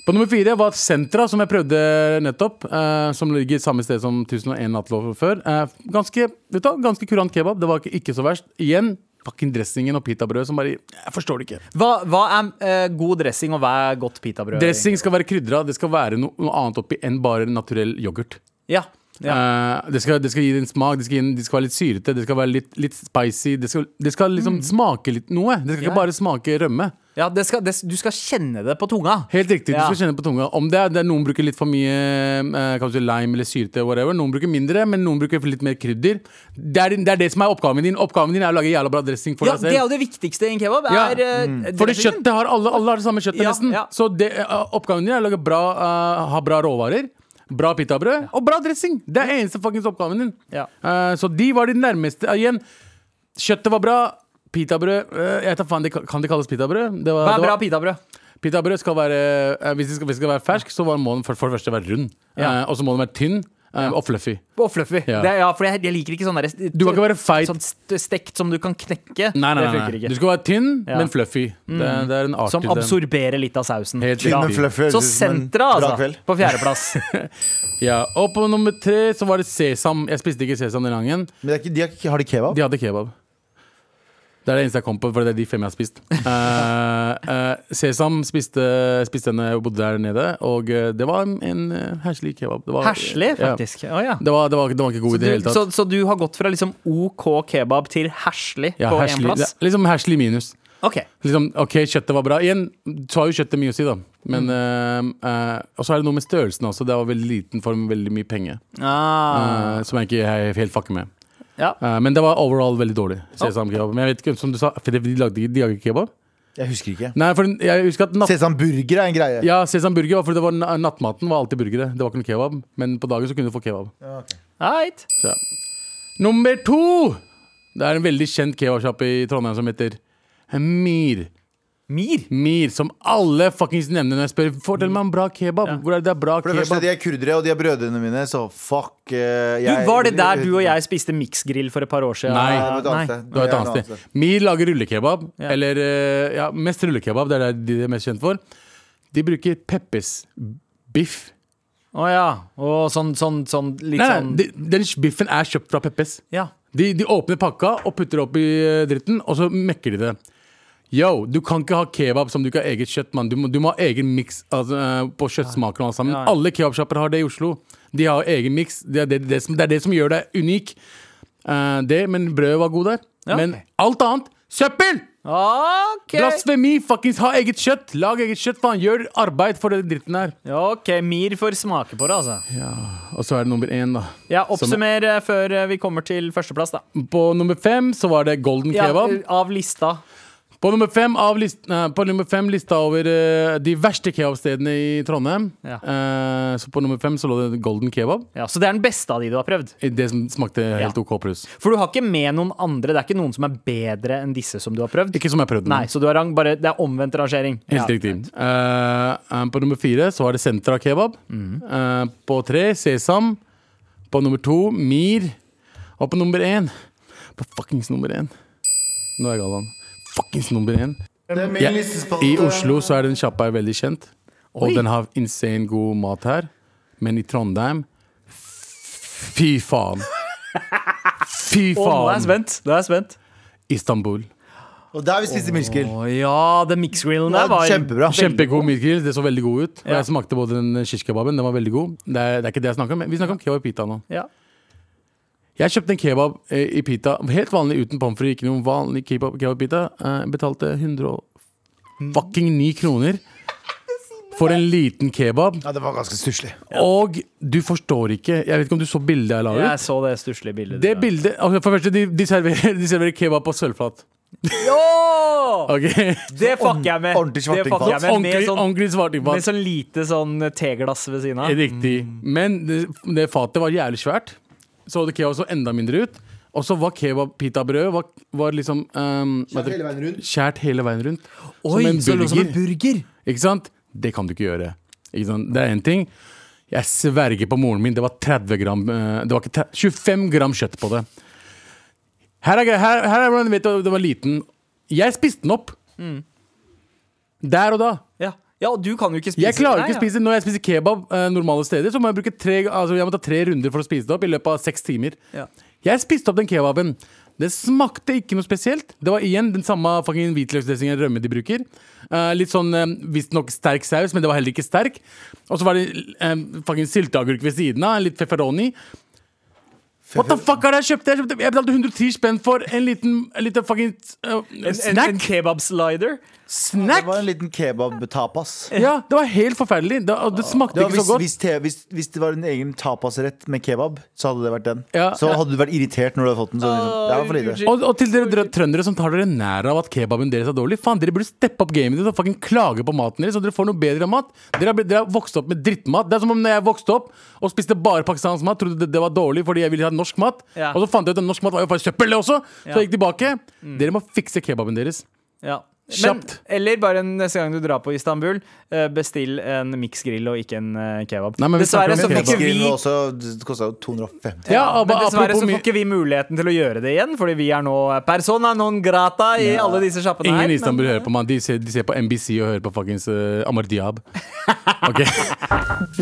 [SPEAKER 2] På nummer fire var Sentra, som jeg prøvde nettopp. eh, som ligger samme sted som 1001 Nattlov før. Eh, ganske, vet du, hva, ganske kurant kebab. Det var ikke, ikke så verst. Igjen fucking dressingen og pitabrød som bare Jeg forstår det ikke.
[SPEAKER 4] Hva, hva er eh, god dressing, og hva er godt pitabrød?
[SPEAKER 2] Dressing skal være krydra. Det skal være noe, noe annet oppi enn bare naturell yoghurt.
[SPEAKER 4] Ja, ja.
[SPEAKER 2] Eh, det, skal, det skal gi det en smak. Det skal, gi den, det skal være litt syrete, det skal være litt, litt spicy. Det skal, det skal liksom smake litt noe. Det skal
[SPEAKER 4] Mm. Ja.
[SPEAKER 2] ikke bare smake rømme.
[SPEAKER 4] ja det skal, det, du skal kjenne det på tunga.
[SPEAKER 2] Helt riktig,
[SPEAKER 4] Ja.
[SPEAKER 2] du skal kjenne på tunga. Om det er, det er Noen bruker litt for mye eh, kanskje lime eller syrete, whatever. noen bruker mindre, men noen bruker litt mer krydder. Det er, det er det som er oppgaven din. Oppgaven din er å lage jævla bra dressing for
[SPEAKER 4] Ja,
[SPEAKER 2] deg
[SPEAKER 4] Det er
[SPEAKER 2] selv.
[SPEAKER 4] jo det viktigste i en kebab.
[SPEAKER 2] Ja. Mm.
[SPEAKER 4] Er, eh,
[SPEAKER 2] Fordi
[SPEAKER 4] dressingen.
[SPEAKER 2] kjøttet har alle, alle har det samme kjøttet,
[SPEAKER 4] Ja,
[SPEAKER 2] nesten.
[SPEAKER 4] ja.
[SPEAKER 2] Så det, eh, oppgaven din er å lage bra, eh, ha bra råvarer, bra pitabrød og bra dressing. Det er eneste fuckings oppgaven din.
[SPEAKER 4] Ja.
[SPEAKER 2] Eh, så de var de nærmeste. Eh, igjen, kjøttet var bra. Pitabrød eh, Jeg tar faen, det, kan- Kan det kalles pitabrød? Det var,
[SPEAKER 4] Hva
[SPEAKER 2] det
[SPEAKER 4] er
[SPEAKER 2] var-
[SPEAKER 4] bra pitabrød?
[SPEAKER 2] Pitabrød skal være eh, Hvis den skal, hvis den skal være fersk, så var- må den for, for det første være rund.
[SPEAKER 4] Ja.
[SPEAKER 2] Eh, og så må den være tynn eh, og fluffy.
[SPEAKER 4] Og fluffy.
[SPEAKER 2] Ja.
[SPEAKER 4] Det, ja, for jeg, jeg liker ikke sånn derre
[SPEAKER 2] Du kan ikke være feit.
[SPEAKER 4] Sånn st- stekt som du kan knekke.
[SPEAKER 2] Nei, nei,
[SPEAKER 4] det
[SPEAKER 2] nei,
[SPEAKER 4] funker
[SPEAKER 2] nei.
[SPEAKER 4] ikke.
[SPEAKER 2] Du skal være tynn,
[SPEAKER 4] Ja. Mm.
[SPEAKER 2] men fluffy. Det, det er en art
[SPEAKER 4] Som
[SPEAKER 2] til den.
[SPEAKER 4] absorberer litt av sausen.
[SPEAKER 2] Helt
[SPEAKER 3] Tynn, men
[SPEAKER 2] riktig.
[SPEAKER 3] fluffy, høres ut
[SPEAKER 4] Så
[SPEAKER 3] som en
[SPEAKER 4] sentra,
[SPEAKER 3] bra
[SPEAKER 4] altså.
[SPEAKER 3] kveld.
[SPEAKER 4] På fjerdeplass.
[SPEAKER 2] Ja. Og på nummer tre så var det sesam. Jeg spiste ikke sesam den gangen.
[SPEAKER 3] Men det er ikke, de har, ikke- har de kebab?
[SPEAKER 2] De hadde kebab. Det er det eneste jeg kom på, for det er de fem jeg har spist. Eh, eh, sesam spiste, spiste den da jeg bodde der nede, og eh, det var en, en eh, herselig kebab. Det var-
[SPEAKER 4] Herselig,
[SPEAKER 2] Ja.
[SPEAKER 4] faktisk. Å ja.
[SPEAKER 2] Det, var, det, var, det var ikke god i det hele
[SPEAKER 4] Du,
[SPEAKER 2] tatt.
[SPEAKER 4] så, så du har gått fra liksom OK kebab til herselig
[SPEAKER 2] ja,
[SPEAKER 4] på én
[SPEAKER 2] herselig,
[SPEAKER 4] plass?
[SPEAKER 2] det er liksom herselig minus.
[SPEAKER 4] Ok.
[SPEAKER 2] Liksom, ok, kjøttet var bra. Igjen, så har jo kjøttet mye å si, da. Men,
[SPEAKER 4] Mm.
[SPEAKER 2] eh, eh, og så er det noe med størrelsen også. Det var veldig liten for veldig mye penger.
[SPEAKER 4] Ah,
[SPEAKER 2] eh, som jeg ikke he- helt fucker med.
[SPEAKER 4] ja.
[SPEAKER 2] Eh, men det var overall veldig dårlig. Sesamkebab. Men jeg vet ikke, som du sa, for de lagde ikke de lagde ikke kebab?
[SPEAKER 3] Jeg husker ikke.
[SPEAKER 2] Nei, for jeg husker at natt,
[SPEAKER 3] Sesam burger er en greie.
[SPEAKER 2] ja, sesamburger var fordi det var na- nattmaten var alltid burgere. Det var ikke noe kebab. Men på dagen så kunne du få kebab.
[SPEAKER 4] Right.
[SPEAKER 2] Så, ja. Nummer to! Det er en veldig kjent kebabsjappe i Trondheim som heter Mir.
[SPEAKER 4] Mir.
[SPEAKER 2] Mir, som alle fuckings nevner når jeg spør Fortell meg om bra kebab. Hvor er det det er bra
[SPEAKER 3] For det første,
[SPEAKER 2] kebab?
[SPEAKER 3] de er kurdere, og de er brødrene mine, så fuck eh,
[SPEAKER 4] Du,
[SPEAKER 3] jeg,
[SPEAKER 4] var det der du og jeg spiste miksgrill for et par år siden?
[SPEAKER 2] Nei.
[SPEAKER 3] Nei, det var et annet
[SPEAKER 4] Nei.
[SPEAKER 3] sted.
[SPEAKER 2] Du har et
[SPEAKER 3] Jeg er altså.
[SPEAKER 2] annet sted. Mir lager rullekebab. Eller eh, ja, mest rullekebab. Det er det de er mest kjent for. De bruker Peppes biff.
[SPEAKER 4] Å ja. Å, sånn, sånn, sånn litt
[SPEAKER 2] Nei,
[SPEAKER 4] sånn
[SPEAKER 2] nei, de, den biffen er kjøpt fra Peppes.
[SPEAKER 4] Ja.
[SPEAKER 2] De, de åpner pakka og putter det opp i eh, dritten, og så mekker de det. Yo, du kan ikke ha kebab som du ikke har eget kjøtt, mann. Du, må- du må ha egen miks altså, eh, på kjøttsmaken og alt sammen.
[SPEAKER 4] Ja, ja.
[SPEAKER 2] Alle kebabsjapper har det i Oslo. De har egen miks. Det, er det, det, som- det er det som gjør deg unik. Eh, det, men brødet var god der.
[SPEAKER 4] Ja,
[SPEAKER 2] men
[SPEAKER 4] ok.
[SPEAKER 2] alt annet Søppel!
[SPEAKER 4] OK!
[SPEAKER 2] Blasfemi! Fuckings ha eget kjøtt! Lag eget kjøtt, faen! Gjør arbeid for den dritten her.
[SPEAKER 4] OK, Mir får smake på det, altså.
[SPEAKER 2] Og så er det nummer én, da.
[SPEAKER 4] Ja, Oppsummer eh, før eh, vi kommer til førsteplass, da.
[SPEAKER 2] På nummer fem så var det golden
[SPEAKER 4] Ja,
[SPEAKER 2] kebab.
[SPEAKER 4] eh, av lista.
[SPEAKER 2] På nummer fem, av list, nei, på nummer fem lista over eh, de verste kebabstedene i Trondheim.
[SPEAKER 4] Ja.
[SPEAKER 2] Eh, så på nummer fem så lå det golden kebab.
[SPEAKER 4] Ja, Så det er den beste av de du har prøvd?
[SPEAKER 2] I Det som smakte helt
[SPEAKER 4] Ja.
[SPEAKER 2] OK pluss.
[SPEAKER 4] For du har ikke med noen andre. Det er ikke noen som er bedre enn disse som du har prøvd.
[SPEAKER 2] Ikke som jeg prøvde den.
[SPEAKER 4] Nei, så du har rang, bare, det er omvendt rangering.
[SPEAKER 2] Mm. Helt riktig. Eh, eh, på nummer fire så var det Sentra kebab.
[SPEAKER 4] Mhm.
[SPEAKER 2] Eh, på tre Sesam. På nummer to Mir. Og på nummer én På fuckings nummer én. Nå er jeg gal, han. Fuckings nummer én.
[SPEAKER 5] Det er min
[SPEAKER 2] Ja,
[SPEAKER 5] listespalte.
[SPEAKER 2] I Oslo så er den sjappa veldig kjent, og
[SPEAKER 4] Oi.
[SPEAKER 2] den har insane god mat her. Men i Trondheim Fy faen! Fy
[SPEAKER 4] Å, nå er jeg
[SPEAKER 2] faen!
[SPEAKER 4] spent. Nå er jeg spent.
[SPEAKER 2] Istanbul.
[SPEAKER 3] Og der vi spiste milskill.
[SPEAKER 4] Å ja, den mixgrillen
[SPEAKER 3] Det
[SPEAKER 4] der
[SPEAKER 3] var
[SPEAKER 4] var
[SPEAKER 3] Kjempebra.
[SPEAKER 2] Kjempegod midtgrill. Det så veldig god ut. Og
[SPEAKER 4] Ja.
[SPEAKER 2] Jeg smakte både den kirskebaben. Den var veldig god. Det er, det er ikke det jeg snakker om. men Vi snakker om kebab i pita nå.
[SPEAKER 4] Ja.
[SPEAKER 2] Jeg kjøpte en kebab eh, i pita, helt vanlig uten pommes frites. Ikke noen vanlig kebab, kebab pita. Eh, betalte 100 fucking 9 kroner for en liten kebab.
[SPEAKER 3] Ja, det var ganske stusslig.
[SPEAKER 2] Og du forstår ikke Jeg vet ikke om du så bildet jeg la ut?
[SPEAKER 4] Jeg så det stusslige bildet.
[SPEAKER 2] Det bildet altså For det første, de, de, serverer, de serverer kebab på sølvflat.
[SPEAKER 4] Åh!
[SPEAKER 2] Ok
[SPEAKER 4] Det fucker jeg med.
[SPEAKER 3] ordentlig
[SPEAKER 4] Det fucker jeg med, med
[SPEAKER 2] Ordentlig,
[SPEAKER 4] sånn,
[SPEAKER 2] ordentlig svartingfat.
[SPEAKER 4] med Mm. sånn lite sånn teglass ved siden av.
[SPEAKER 2] Riktig. Men det, det fatet var jævlig svært. Så det kebab så enda mindre ut. Og så var kebab-pitabrødet var, var liksom ehm, hva heter det?
[SPEAKER 5] hele veien rundt.
[SPEAKER 2] Skjært hele veien rundt.
[SPEAKER 4] Oi, så det lå som en
[SPEAKER 2] burger. Ikke sant? Det kan du ikke gjøre. Ikke sant? Det er én ting. Jeg sverger på moren min, det var 30 gram eh, Det var ikke 30, 25 gram kjøtt på det. Her er, gre- her, her er hvordan du vet at det var liten. Jeg spiste den opp. Der og da.
[SPEAKER 4] Ja. ja, og du kan jo ikke spise
[SPEAKER 2] Jeg klarer
[SPEAKER 4] Nei,
[SPEAKER 2] ikke å spise Når jeg spiser kebab eh, normale steder, så må jeg bruke tre, altså jeg må ta tre runder for å spise det opp i løpet av seks timer.
[SPEAKER 4] Ja.
[SPEAKER 2] Jeg spiste opp den kebaben. Det smakte ikke noe spesielt. Det var igjen den samme fucking hvitløksdressingen og rømme de bruker. Eh, litt sånn uh, visstnok sterk saus, men det var heller ikke sterk. Og så var det uh, fucking sylteagurk ved siden av, litt pepperoni. What the fuck er det jeg kjøpte? Jeg, kjøpte, jeg betalte 110 spenn for en liten, en liten fucking eh,
[SPEAKER 4] En, en, en
[SPEAKER 2] snack.
[SPEAKER 4] kebabslider.
[SPEAKER 3] Det
[SPEAKER 2] snack!
[SPEAKER 3] var en liten kebab-tapas.
[SPEAKER 2] Ja, det var helt forferdelig. Det, og det smakte
[SPEAKER 3] Det var,
[SPEAKER 2] ikke
[SPEAKER 3] hvis,
[SPEAKER 2] så godt.
[SPEAKER 3] hvis, te- hvis, hvis det var en egen tapasrett med kebab, så hadde det vært den.
[SPEAKER 2] Ja.
[SPEAKER 3] Så hadde du vært irritert når du hadde fått den. Så liksom, det var for lite.
[SPEAKER 2] Og, og til dere drø- trøndere som tar dere nær av at kebaben deres er dårlig, faen, dere burde steppe opp gamet deres og fucking klage på maten deres, så dere får noe bedre mat. Dere har, blitt- dere har vokst opp med drittmat. Det er som om når jeg vokste opp og spiste bare pakistansk mat, trodde det, det var dårlig fordi jeg ville ha norsk mat,
[SPEAKER 4] Ja.
[SPEAKER 2] og så fant jeg ut at norsk mat var jo faktisk søppel, det også, så
[SPEAKER 4] Ja. Mm.
[SPEAKER 2] jeg gikk tilbake. Dere må fikse kebaben deres.
[SPEAKER 4] Ja. Men,
[SPEAKER 2] Kjapt.
[SPEAKER 4] eller bare neste gang du drar på Istanbul, eh, bestill en miksgrill og ikke en eh, kebab.
[SPEAKER 2] Nei, men vi snakker
[SPEAKER 4] dessverre
[SPEAKER 2] om
[SPEAKER 4] så får ikke
[SPEAKER 3] Mexican
[SPEAKER 4] vi
[SPEAKER 3] var også, det kosta jo 250.
[SPEAKER 2] Ja, og
[SPEAKER 4] men
[SPEAKER 2] bare
[SPEAKER 4] dessverre
[SPEAKER 2] apropos
[SPEAKER 4] så får
[SPEAKER 2] mi-
[SPEAKER 4] ikke vi muligheten til å gjøre det igjen, fordi vi er nå persona non grata i alle disse sjappene her.
[SPEAKER 2] Ingen i
[SPEAKER 4] men-
[SPEAKER 2] Istanbul hører på meg. De ser, de ser på NBC og hører på fuckings eh, Amar Diab. Ok.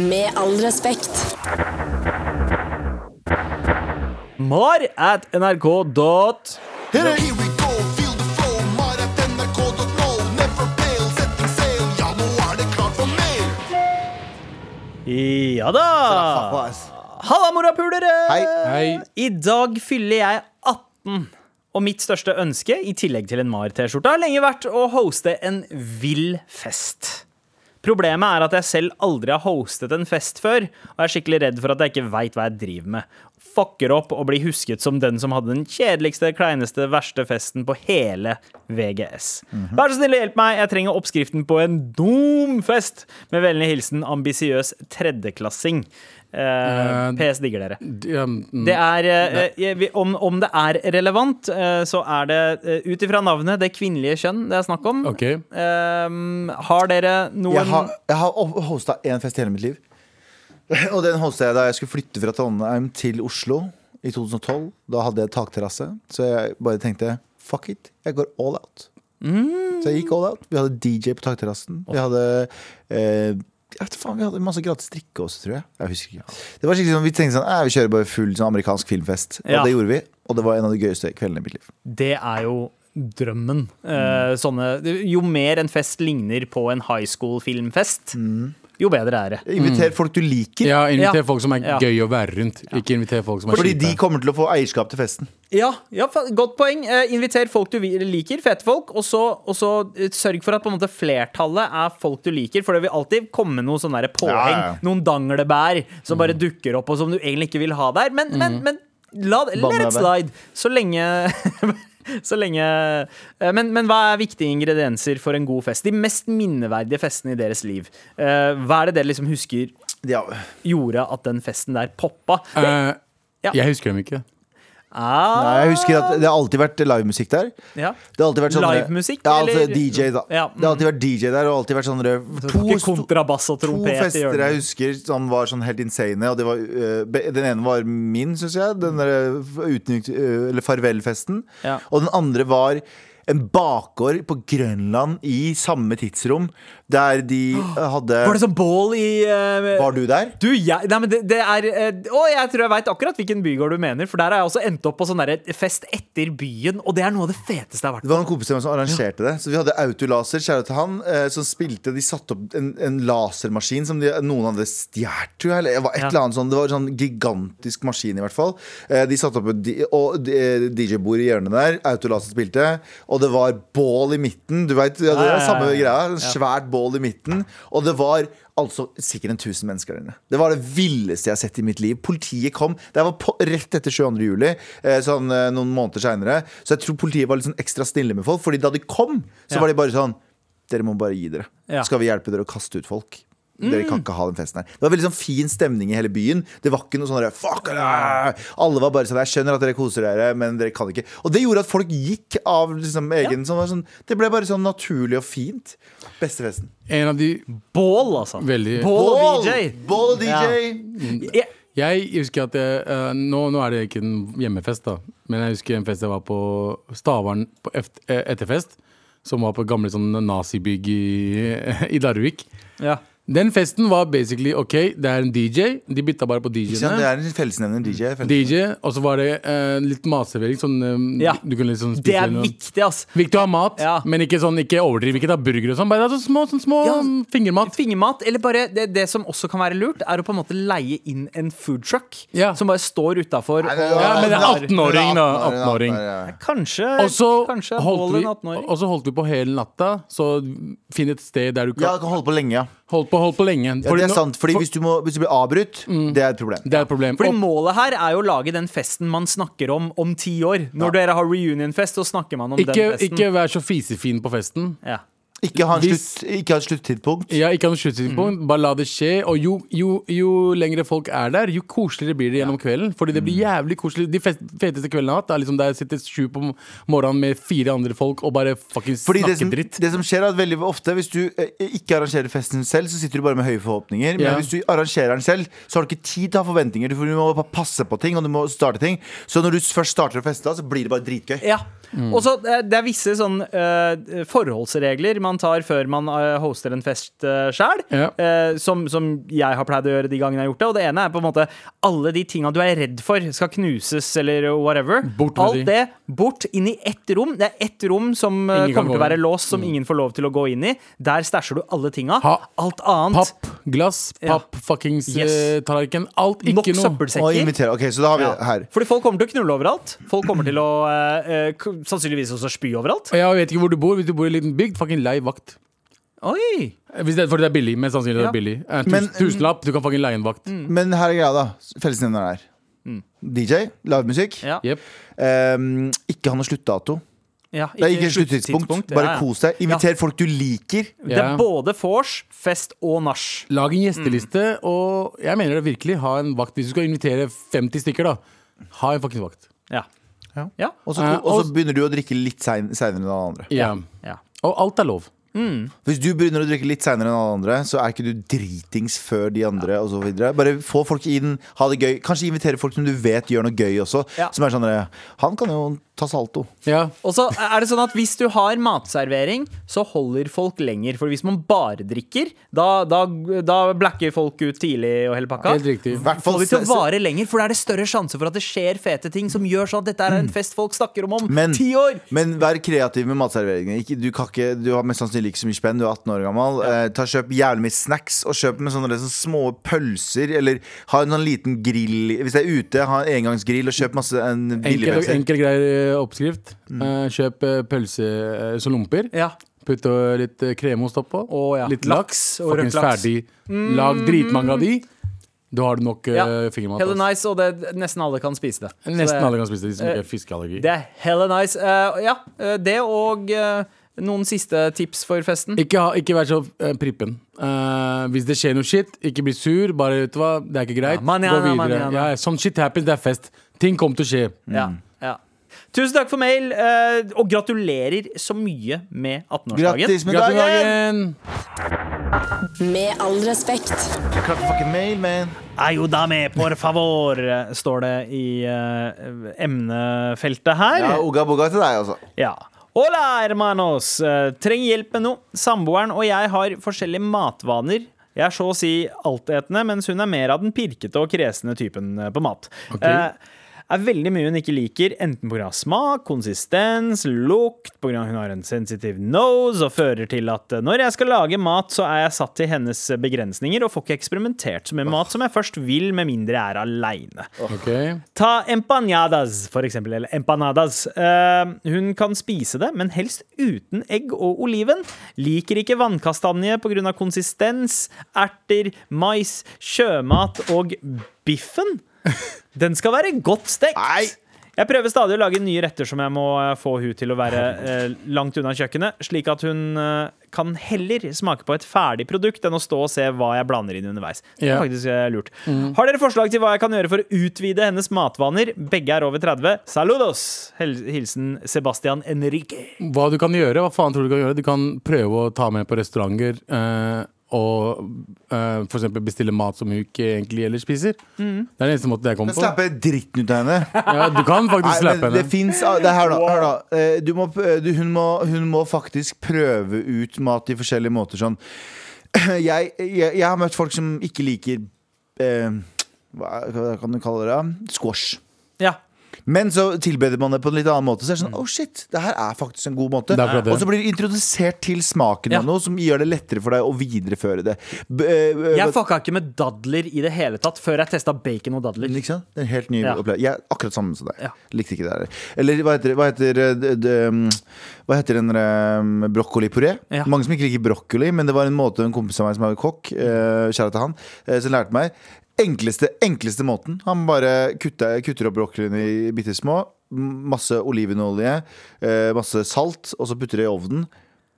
[SPEAKER 1] Med all respekt.
[SPEAKER 4] Mar at nrk dot
[SPEAKER 5] Here we go, feel the flow. Mar at nrk.no. Never fail, setting sail. Ja, nå er det klart for mail.
[SPEAKER 4] Ja da!
[SPEAKER 3] Tapas.
[SPEAKER 4] Halla, morapulere!
[SPEAKER 3] Hei.
[SPEAKER 2] Hei.
[SPEAKER 4] I dag fyller jeg 18. Og mitt største ønske, i tillegg til en Mar-T-skjorte, har lenge vært å hoste en vill fest. Problemet er at jeg selv aldri har hostet en fest før, og jeg er skikkelig redd for at jeg ikke veit hva jeg driver med. Fucker opp og blir husket som den som hadde den kjedeligste, kleineste, verste festen på hele VGS. Vær så snill og hjelp meg, jeg trenger oppskriften på en dum fest! Med vennlig hilsen ambisiøs tredjeklassing. Eh,
[SPEAKER 2] Eh,
[SPEAKER 4] PS digger dere.
[SPEAKER 2] D- ja, mm.
[SPEAKER 4] Det er, eh, jeg vil- om, om det er relevant, eh, så er det eh, ut ifra navnet det kvinnelige kjønn det er snakk om.
[SPEAKER 2] Ok.
[SPEAKER 4] Ehm, har dere noen
[SPEAKER 3] Jeg har, jeg har hosta én fest i hele mitt liv. Og den hosta jeg da jeg skulle flytte fra Trondheim til Oslo i 2012. Da hadde jeg takterrasse, så jeg bare tenkte fuck it, jeg går all out. Så jeg gikk all out. Vi hadde DJ på takterrassen. Vi hadde eh, jeg vet faen, Vi hadde masse gratis drikke også, tror jeg. Jeg husker ikke Det var skikkelig sånn, Vi tenkte sånn, eh, vi kjører bare full sånn amerikansk filmfest. Og
[SPEAKER 4] Ja.
[SPEAKER 3] det gjorde vi. Og det var en av de gøyeste kveldene i mitt liv.
[SPEAKER 4] Det er jo drømmen. Eh, sånne, jo mer en fest ligner på en high school-filmfest, jo bedre er det.
[SPEAKER 3] Inviter folk du liker.
[SPEAKER 2] Ja, inviter
[SPEAKER 4] Ja.
[SPEAKER 2] folk som er
[SPEAKER 4] Ja.
[SPEAKER 2] gøy å være rundt. Ikke inviter folk som er
[SPEAKER 3] Fordi de
[SPEAKER 2] kjipe.
[SPEAKER 3] kommer til å få eierskap til festen.
[SPEAKER 4] Ja, ja fa- godt poeng. Eh, inviter folk du vi- liker, fete folk, og så, og så eh, sørg for at på en måte flertallet er folk du liker, for det vil alltid komme noen sånne der påheng,
[SPEAKER 3] Ja, ja, ja.
[SPEAKER 4] noen danglebær som bare dukker opp, og som du egentlig ikke vil ha der. Men,
[SPEAKER 3] Mhm.
[SPEAKER 4] men, men la, let
[SPEAKER 3] Bannebær.
[SPEAKER 4] it slide. Så lenge Så lenge eh, men, men hva er viktige ingredienser for en god fest? De mest minneverdige festene i deres liv. Eh, Hva er det dere liksom husker
[SPEAKER 3] Ja.
[SPEAKER 4] gjorde at den festen der poppa?
[SPEAKER 2] Eh,
[SPEAKER 4] Ja.
[SPEAKER 2] Jeg husker dem ikke.
[SPEAKER 4] Ah,
[SPEAKER 3] Nei, jeg husker at Det har alltid vært livemusikk der.
[SPEAKER 4] Ah, ja.
[SPEAKER 3] Det har alltid vært sånn
[SPEAKER 4] Livemusikk,
[SPEAKER 3] Ja, altså
[SPEAKER 4] eller?
[SPEAKER 3] DJ, da.
[SPEAKER 4] Ja, mm.
[SPEAKER 3] Det har alltid vært DJ der, og alltid vært sånn der-
[SPEAKER 4] To
[SPEAKER 3] sto-
[SPEAKER 4] kontrabass og
[SPEAKER 3] To
[SPEAKER 4] trompet i
[SPEAKER 3] fester jeg
[SPEAKER 4] hjørnet.
[SPEAKER 3] husker som var sånn helt insane. Og det var, øh, be- den ene var min, syns jeg. Den der utnykt, øh, eller farvelfesten.
[SPEAKER 4] Ja.
[SPEAKER 3] Og den andre var en bakgård på Grønland i samme tidsrom, der de eh, hadde
[SPEAKER 4] Var det sånn bål i eh,
[SPEAKER 3] Var du der?
[SPEAKER 4] Du, jeg Nei, men det, det er eh, Å, jeg tror jeg veit akkurat hvilken bygård du mener, for der har jeg også endt opp på sånn derre fest etter byen, og det er noe av det feteste jeg har vært
[SPEAKER 3] Det var noen kompiser av meg som arrangerte det. Så vi hadde autolaser, kjære til han, eh, som spilte De satte opp en, en lasermaskin som de, noen hadde stjålet, tror jeg. Eller det var et
[SPEAKER 4] Ja.
[SPEAKER 3] eller annet sånn Det var en sånn gigantisk maskin, i hvert fall. Eh, De satte opp et di- og de- eh, DJ-bord i hjørnet der, autolaser spilte, og det var bål i midten. Du veit, ja, det
[SPEAKER 4] Ja,
[SPEAKER 3] er
[SPEAKER 4] ja,
[SPEAKER 3] samme
[SPEAKER 4] ja, ja.
[SPEAKER 3] greia. Svært bål i midten. Og det var altså sikkert en tusen mennesker der inne. Det var det villeste jeg har sett i mitt liv. Politiet kom. Det var på, rett etter 22. juli, eh, sånn eh, noen måneder seinere. Så jeg tror politiet var litt sånn ekstra snille med folk, Fordi da de kom, så
[SPEAKER 4] Ja.
[SPEAKER 3] var de bare sånn Dere må bare gi dere.
[SPEAKER 4] Ja.
[SPEAKER 3] Skal vi hjelpe dere å kaste ut folk? Dere kan ikke ha den festen her. Det var veldig sånn fin stemning i hele byen. Det var ikke noe sånn der, Fuck! ah!» Alle var bare sånn Jeg skjønner at dere koser dere, men dere kan ikke. Og det gjorde at folk gikk av liksom egen sånn, var sånn, Det ble bare sånn naturlig og fint. Beste festen.
[SPEAKER 2] En av de
[SPEAKER 4] Bål, altså.
[SPEAKER 2] Veldig-
[SPEAKER 4] Bål og DJ.
[SPEAKER 3] Bål og DJ!
[SPEAKER 4] Ja.
[SPEAKER 2] Jeg husker at jeg, eh, nå, nå er det ikke en hjemmefest, da. Men jeg husker en fest jeg var på Stavern på eft- eh, etterfest. Som var på gamle sånn nazibygg i, i Larvik.
[SPEAKER 4] Ja.
[SPEAKER 2] Den festen var basically OK, det er en DJ. De bytta bare på
[SPEAKER 3] Ja, det
[SPEAKER 2] DJ-ene.
[SPEAKER 3] er en fellesnevner DJ. felles-
[SPEAKER 2] DJ, og så var det eh, litt matservering. Sånn, eh,
[SPEAKER 4] Ja.
[SPEAKER 2] du kunne liksom spise
[SPEAKER 4] Det er
[SPEAKER 2] noe.
[SPEAKER 4] viktig, ass.
[SPEAKER 2] Viktig å ha mat,
[SPEAKER 4] Ja.
[SPEAKER 2] men ikke, sånn, ikke overdriv. Ikke ta burger og sånn. Bare sånn små, sånn små
[SPEAKER 4] Ja.
[SPEAKER 2] mm, fingermat.
[SPEAKER 4] Fingermat, eller bare det, det som også kan være lurt, er å på en måte leie inn en food truck
[SPEAKER 2] Ja.
[SPEAKER 4] som bare står utafor.
[SPEAKER 3] Nei, det var-
[SPEAKER 2] Ja, men det er
[SPEAKER 3] det var
[SPEAKER 2] 18-åring, da. 18-åring.
[SPEAKER 3] 18-åring, ja.
[SPEAKER 4] Kanskje,
[SPEAKER 2] Og så
[SPEAKER 4] kanskje
[SPEAKER 2] holdt,
[SPEAKER 4] bål
[SPEAKER 2] vi,
[SPEAKER 4] en 18-åring.
[SPEAKER 2] og så holdt vi på hele natta. Så finn et sted der du kan
[SPEAKER 3] Ja, du kan holde på lenge, ja.
[SPEAKER 2] Holdt på, holdt på lenge.
[SPEAKER 3] ja
[SPEAKER 2] Fordi
[SPEAKER 3] det
[SPEAKER 2] nå-
[SPEAKER 3] er sant. Fordi
[SPEAKER 2] for- Mm.
[SPEAKER 3] hvis du, må, hvis du blir avbrutt, det er et problem.
[SPEAKER 2] det er et problem.
[SPEAKER 4] Fordi
[SPEAKER 2] Og-
[SPEAKER 4] målet her er jo å lage den festen man snakker om om ti år. Når dere har reunionfest, så snakker man om
[SPEAKER 2] ikke,
[SPEAKER 4] den festen.
[SPEAKER 2] ikke vær så fisefin på festen.
[SPEAKER 4] Ja.
[SPEAKER 3] Ikke ha en
[SPEAKER 2] Hvis-
[SPEAKER 3] slutt- ikke ha et sluttidspunkt.
[SPEAKER 2] Ja, ikke ha noe sluttidspunkt.
[SPEAKER 3] Mm.
[SPEAKER 2] Bare la det skje. Og jo, jo, jo lengre folk er der, jo koseligere blir det gjennom kvelden. Fordi det blir
[SPEAKER 3] Mm.
[SPEAKER 2] jævlig koselig. De fest, feteste kveldene jeg har hatt, er liksom der jeg sitter sju på morgenen med fire andre folk og bare fuckings
[SPEAKER 3] Fordi
[SPEAKER 2] snakker
[SPEAKER 3] det som,
[SPEAKER 2] dritt.
[SPEAKER 3] det som skjer er at veldig ofte Hvis du eh, ikke arrangerer festen selv, så sitter du bare med høye forhåpninger. Men
[SPEAKER 2] Ja.
[SPEAKER 3] hvis du arrangerer den selv, så har du ikke tid til å ha forventninger. Du får- du må bare passe på ting, og du må starte ting. Så når du først starter å feste, da, så blir det bare dritgøy.
[SPEAKER 4] Ja.
[SPEAKER 2] Mm.
[SPEAKER 4] Og så eh, det er visse sånn eh, forholdsregler man tar før man eh, hoster en fest uh, sjæl,
[SPEAKER 2] Ja.
[SPEAKER 4] eh, som, som jeg har pleid å gjøre de gangene jeg har gjort det. Og det ene er på en måte alle de tinga du er redd for skal knuses eller whatever.
[SPEAKER 2] Bort med
[SPEAKER 4] Alt
[SPEAKER 2] de.
[SPEAKER 4] det bort inn i ett rom. Det er ett rom som eh,
[SPEAKER 2] Ingen kan
[SPEAKER 4] kommer til
[SPEAKER 2] gå
[SPEAKER 4] å være
[SPEAKER 2] inn. Mm.
[SPEAKER 4] låst, som ingen får lov til å gå inn i. Der stæsjer du alle tinga.
[SPEAKER 2] Ha-
[SPEAKER 4] Alt annet.
[SPEAKER 2] Papp, glass,
[SPEAKER 4] Ja.
[SPEAKER 2] papp, fuckings
[SPEAKER 4] Yes.
[SPEAKER 2] eh, tallerken. Alt,
[SPEAKER 4] Nok
[SPEAKER 2] ikke noe.
[SPEAKER 3] Og
[SPEAKER 4] søppelsekker.
[SPEAKER 3] invitere. Ok, så da har vi
[SPEAKER 4] Ja.
[SPEAKER 3] her.
[SPEAKER 4] Fordi folk kommer til å knulle overalt. Folk kommer til å eh, eh, k- sannsynligvis også spy overalt.
[SPEAKER 2] Og jeg vet ikke hvor du bor. Hvis du bor i en liten bygd, fucking lei vakt.
[SPEAKER 4] Oi!
[SPEAKER 2] Hvis det, for det er billig. Mest sannsynlig det
[SPEAKER 4] Ja. Mm.
[SPEAKER 2] er billig. Eh, tus,
[SPEAKER 3] Men-
[SPEAKER 2] tusenlapp, du kan fucking leie en vakt.
[SPEAKER 3] Men her er greia, da. Fellesnevneren er DJ, livemusikk.
[SPEAKER 4] Ja.
[SPEAKER 2] Jep.
[SPEAKER 3] Ehm, ikke ha noe sluttdato.
[SPEAKER 4] Ja,
[SPEAKER 3] Det er ikke sluttidspunkt. Bare
[SPEAKER 4] Ja, ja.
[SPEAKER 3] kos deg. Inviter folk du liker.
[SPEAKER 4] Det er
[SPEAKER 2] Ja.
[SPEAKER 4] både vors, fest og nach.
[SPEAKER 2] Lag en gjesteliste,
[SPEAKER 4] Mm.
[SPEAKER 2] og jeg mener det virkelig. Ha en vakt. Hvis du skal invitere 50 stykker, da. Ha en fuckings vakt.
[SPEAKER 4] Ja.
[SPEAKER 3] Ja.
[SPEAKER 4] Ja.
[SPEAKER 3] Og så
[SPEAKER 2] Eh,
[SPEAKER 3] og
[SPEAKER 2] og-
[SPEAKER 3] så begynner du å drikke litt sein- seinere enn alle andre.
[SPEAKER 2] Ja.
[SPEAKER 4] ja.
[SPEAKER 2] Og alt er lov.
[SPEAKER 3] Hvis du begynner å drikke litt seinere enn alle andre, så er ikke du dritings før de andre. Og så videre. Bare få folk inn, ha det gøy. Kanskje invitere folk som du vet gjør noe gøy også.
[SPEAKER 4] Ja.
[SPEAKER 3] Som er sånn eh, Han kan jo ta salto.
[SPEAKER 2] Ja.
[SPEAKER 4] Og så er det sånn at hvis du har matservering, så holder folk lenger. For hvis man bare drikker, da, da, da blacker folk ut tidlig og hele pakka.
[SPEAKER 2] Helt riktig.
[SPEAKER 3] Hvert fall
[SPEAKER 4] Får vi til å
[SPEAKER 3] se-
[SPEAKER 4] vare lenger, for da er det større sjanse for at det skjer fete ting som gjør sånn at dette er en fest folk snakker om om
[SPEAKER 3] Mm. Men-
[SPEAKER 4] ti år.
[SPEAKER 3] Men vær kreativ med matserveringene. Ikke, du, kan ikke, du har mest sannsynlig like så mye spenn, du er 18 år gammel. Eh, ta Kjøp jævlig mye snacks, og kjøp med sånne, sånne små pølser. Eller ha en sånn liten grill hvis det er ute. Ha en engangsgrill, og kjøp masse en
[SPEAKER 2] Enkel,
[SPEAKER 3] billigpølse.
[SPEAKER 2] enkel greier eh, oppskrift. Eh, kjøp eh, pølse eh, som lomper.
[SPEAKER 4] Ja.
[SPEAKER 2] Putt eh, litt eh, kremost oppå.
[SPEAKER 4] Å, ja.
[SPEAKER 2] Litt
[SPEAKER 4] Laks
[SPEAKER 2] laks.
[SPEAKER 4] og
[SPEAKER 2] Fuckings
[SPEAKER 4] røkt laks.
[SPEAKER 2] ferdig. Lag dritmange av de. Da har du nok eh,
[SPEAKER 4] Ja.
[SPEAKER 2] fingermat.
[SPEAKER 4] Hella
[SPEAKER 2] ass.
[SPEAKER 4] nice, og det, nesten alle kan spise det. Så
[SPEAKER 2] Nesten
[SPEAKER 4] det-
[SPEAKER 2] alle kan spise det, de som
[SPEAKER 4] eh,
[SPEAKER 2] ikke har fiskeallergi.
[SPEAKER 4] Det er hella nice. Eh, ja, eh, det og eh, noen siste tips for festen.
[SPEAKER 2] Ikke, ha, ikke vær så eh, prippen. Eh, hvis det skjer noe shit, ikke bli sur. Bare vet du hva, det er ikke greit.
[SPEAKER 4] Ja, manana,
[SPEAKER 2] Gå videre.
[SPEAKER 4] manana.
[SPEAKER 2] Ja, ja, sånn shit happens, det er fest. Ting kommer til å skje.
[SPEAKER 4] Mm. Ja, ja. Tusen takk for mail, eh, og gratulerer så mye med 18-årsdagen.
[SPEAKER 3] Grattis med dagen!
[SPEAKER 2] Gratulerer!
[SPEAKER 6] Med all respekt.
[SPEAKER 3] Klart fucking mail, man.
[SPEAKER 4] Ayudame, por favor, står det i eh, emnefeltet her.
[SPEAKER 3] Ja, Oga boga til deg, altså.
[SPEAKER 4] Ja. Hola, hermanos! Eh, trenger hjelp med noe. Samboeren og jeg har forskjellige matvaner. Jeg er så å si altetende, mens hun er mer av den pirkete og kresne typen eh, på mat.
[SPEAKER 2] Ok.
[SPEAKER 4] Eh, er veldig mye hun ikke liker, enten pga. smak, konsistens, lukt, pga. hun har en sensitiv nose og fører til at eh, når jeg skal lage mat, så er jeg satt til hennes eh, begrensninger og får ikke eksperimentert så mye mat som jeg først vil, med mindre jeg er aleine.
[SPEAKER 2] Ok.
[SPEAKER 4] Ta empanadas, for eksempel. Eller empanadas. Eh, hun kan spise det, men helst uten egg og oliven. Liker ikke vannkastanje pga. konsistens, erter, mais, sjømat og biffen. Den skal være godt stekt.
[SPEAKER 3] Nei.
[SPEAKER 4] Jeg prøver stadig å lage nye retter som jeg må eh, få hun til å være eh, langt unna kjøkkenet, slik at hun eh, kan heller smake på et ferdig produkt enn å stå og se hva jeg blander inn underveis. Det er
[SPEAKER 2] Ja.
[SPEAKER 4] faktisk eh, lurt. Har dere forslag til hva jeg kan gjøre for å utvide hennes matvaner? Begge er over 30. Saludos! Hel hilsen Sebastian Enrique.
[SPEAKER 2] Hva du kan gjøre, hva faen tror du du kan gjøre? Du kan prøve å ta med på restauranter eh, og eh, for eksempel bestille mat som hun ikke egentlig ellers spiser.
[SPEAKER 4] Mm.
[SPEAKER 2] Det er den eneste måten jeg kommer på.
[SPEAKER 3] Slappe dritten ut av henne.
[SPEAKER 2] Ja, du kan faktisk
[SPEAKER 3] Nei,
[SPEAKER 2] slappe
[SPEAKER 3] men det
[SPEAKER 2] henne.
[SPEAKER 3] fins det er her da, hør da. Eh, Du må, du, hun, må, hun må faktisk prøve ut mat i forskjellige måter. Sånn. Jeg, jeg, jeg har møtt folk som ikke liker eh, hva, hva kan du kalle det? da? Squash.
[SPEAKER 4] Ja.
[SPEAKER 3] Men så tilbeder man det på en litt annen måte. Så er det sånn, oh shit, det her er faktisk en god
[SPEAKER 2] Mm.
[SPEAKER 3] måte
[SPEAKER 2] Det er akkurat det.
[SPEAKER 3] Og så blir du introdusert til smaken
[SPEAKER 4] Ja.
[SPEAKER 3] av noe som gjør det lettere for deg å videreføre det. B eh, eh,
[SPEAKER 4] Jeg fucka ikke med dadler i det hele tatt før jeg testa bacon og dadler.
[SPEAKER 3] Mm, Ikke sant? Det er en helt ny
[SPEAKER 4] Ja.
[SPEAKER 3] opplevelse. Jeg er akkurat samme som deg.
[SPEAKER 4] Ja.
[SPEAKER 3] Likte ikke det der. Eller hva heter, hva heter, eh, d- d- um, hva heter den der, um, brokkolipuré?
[SPEAKER 4] Ja.
[SPEAKER 3] Mange som ikke liker brokkoli, men det var en måte en kompis av meg som er kokk, eh, kjære til han, eh, som lærte meg. Enkleste, enkleste måten. Han bare kutter, kutter opp brokkoliene i bitte små. m- Masse olivenolje, eh, masse salt, og så putter det i ovnen.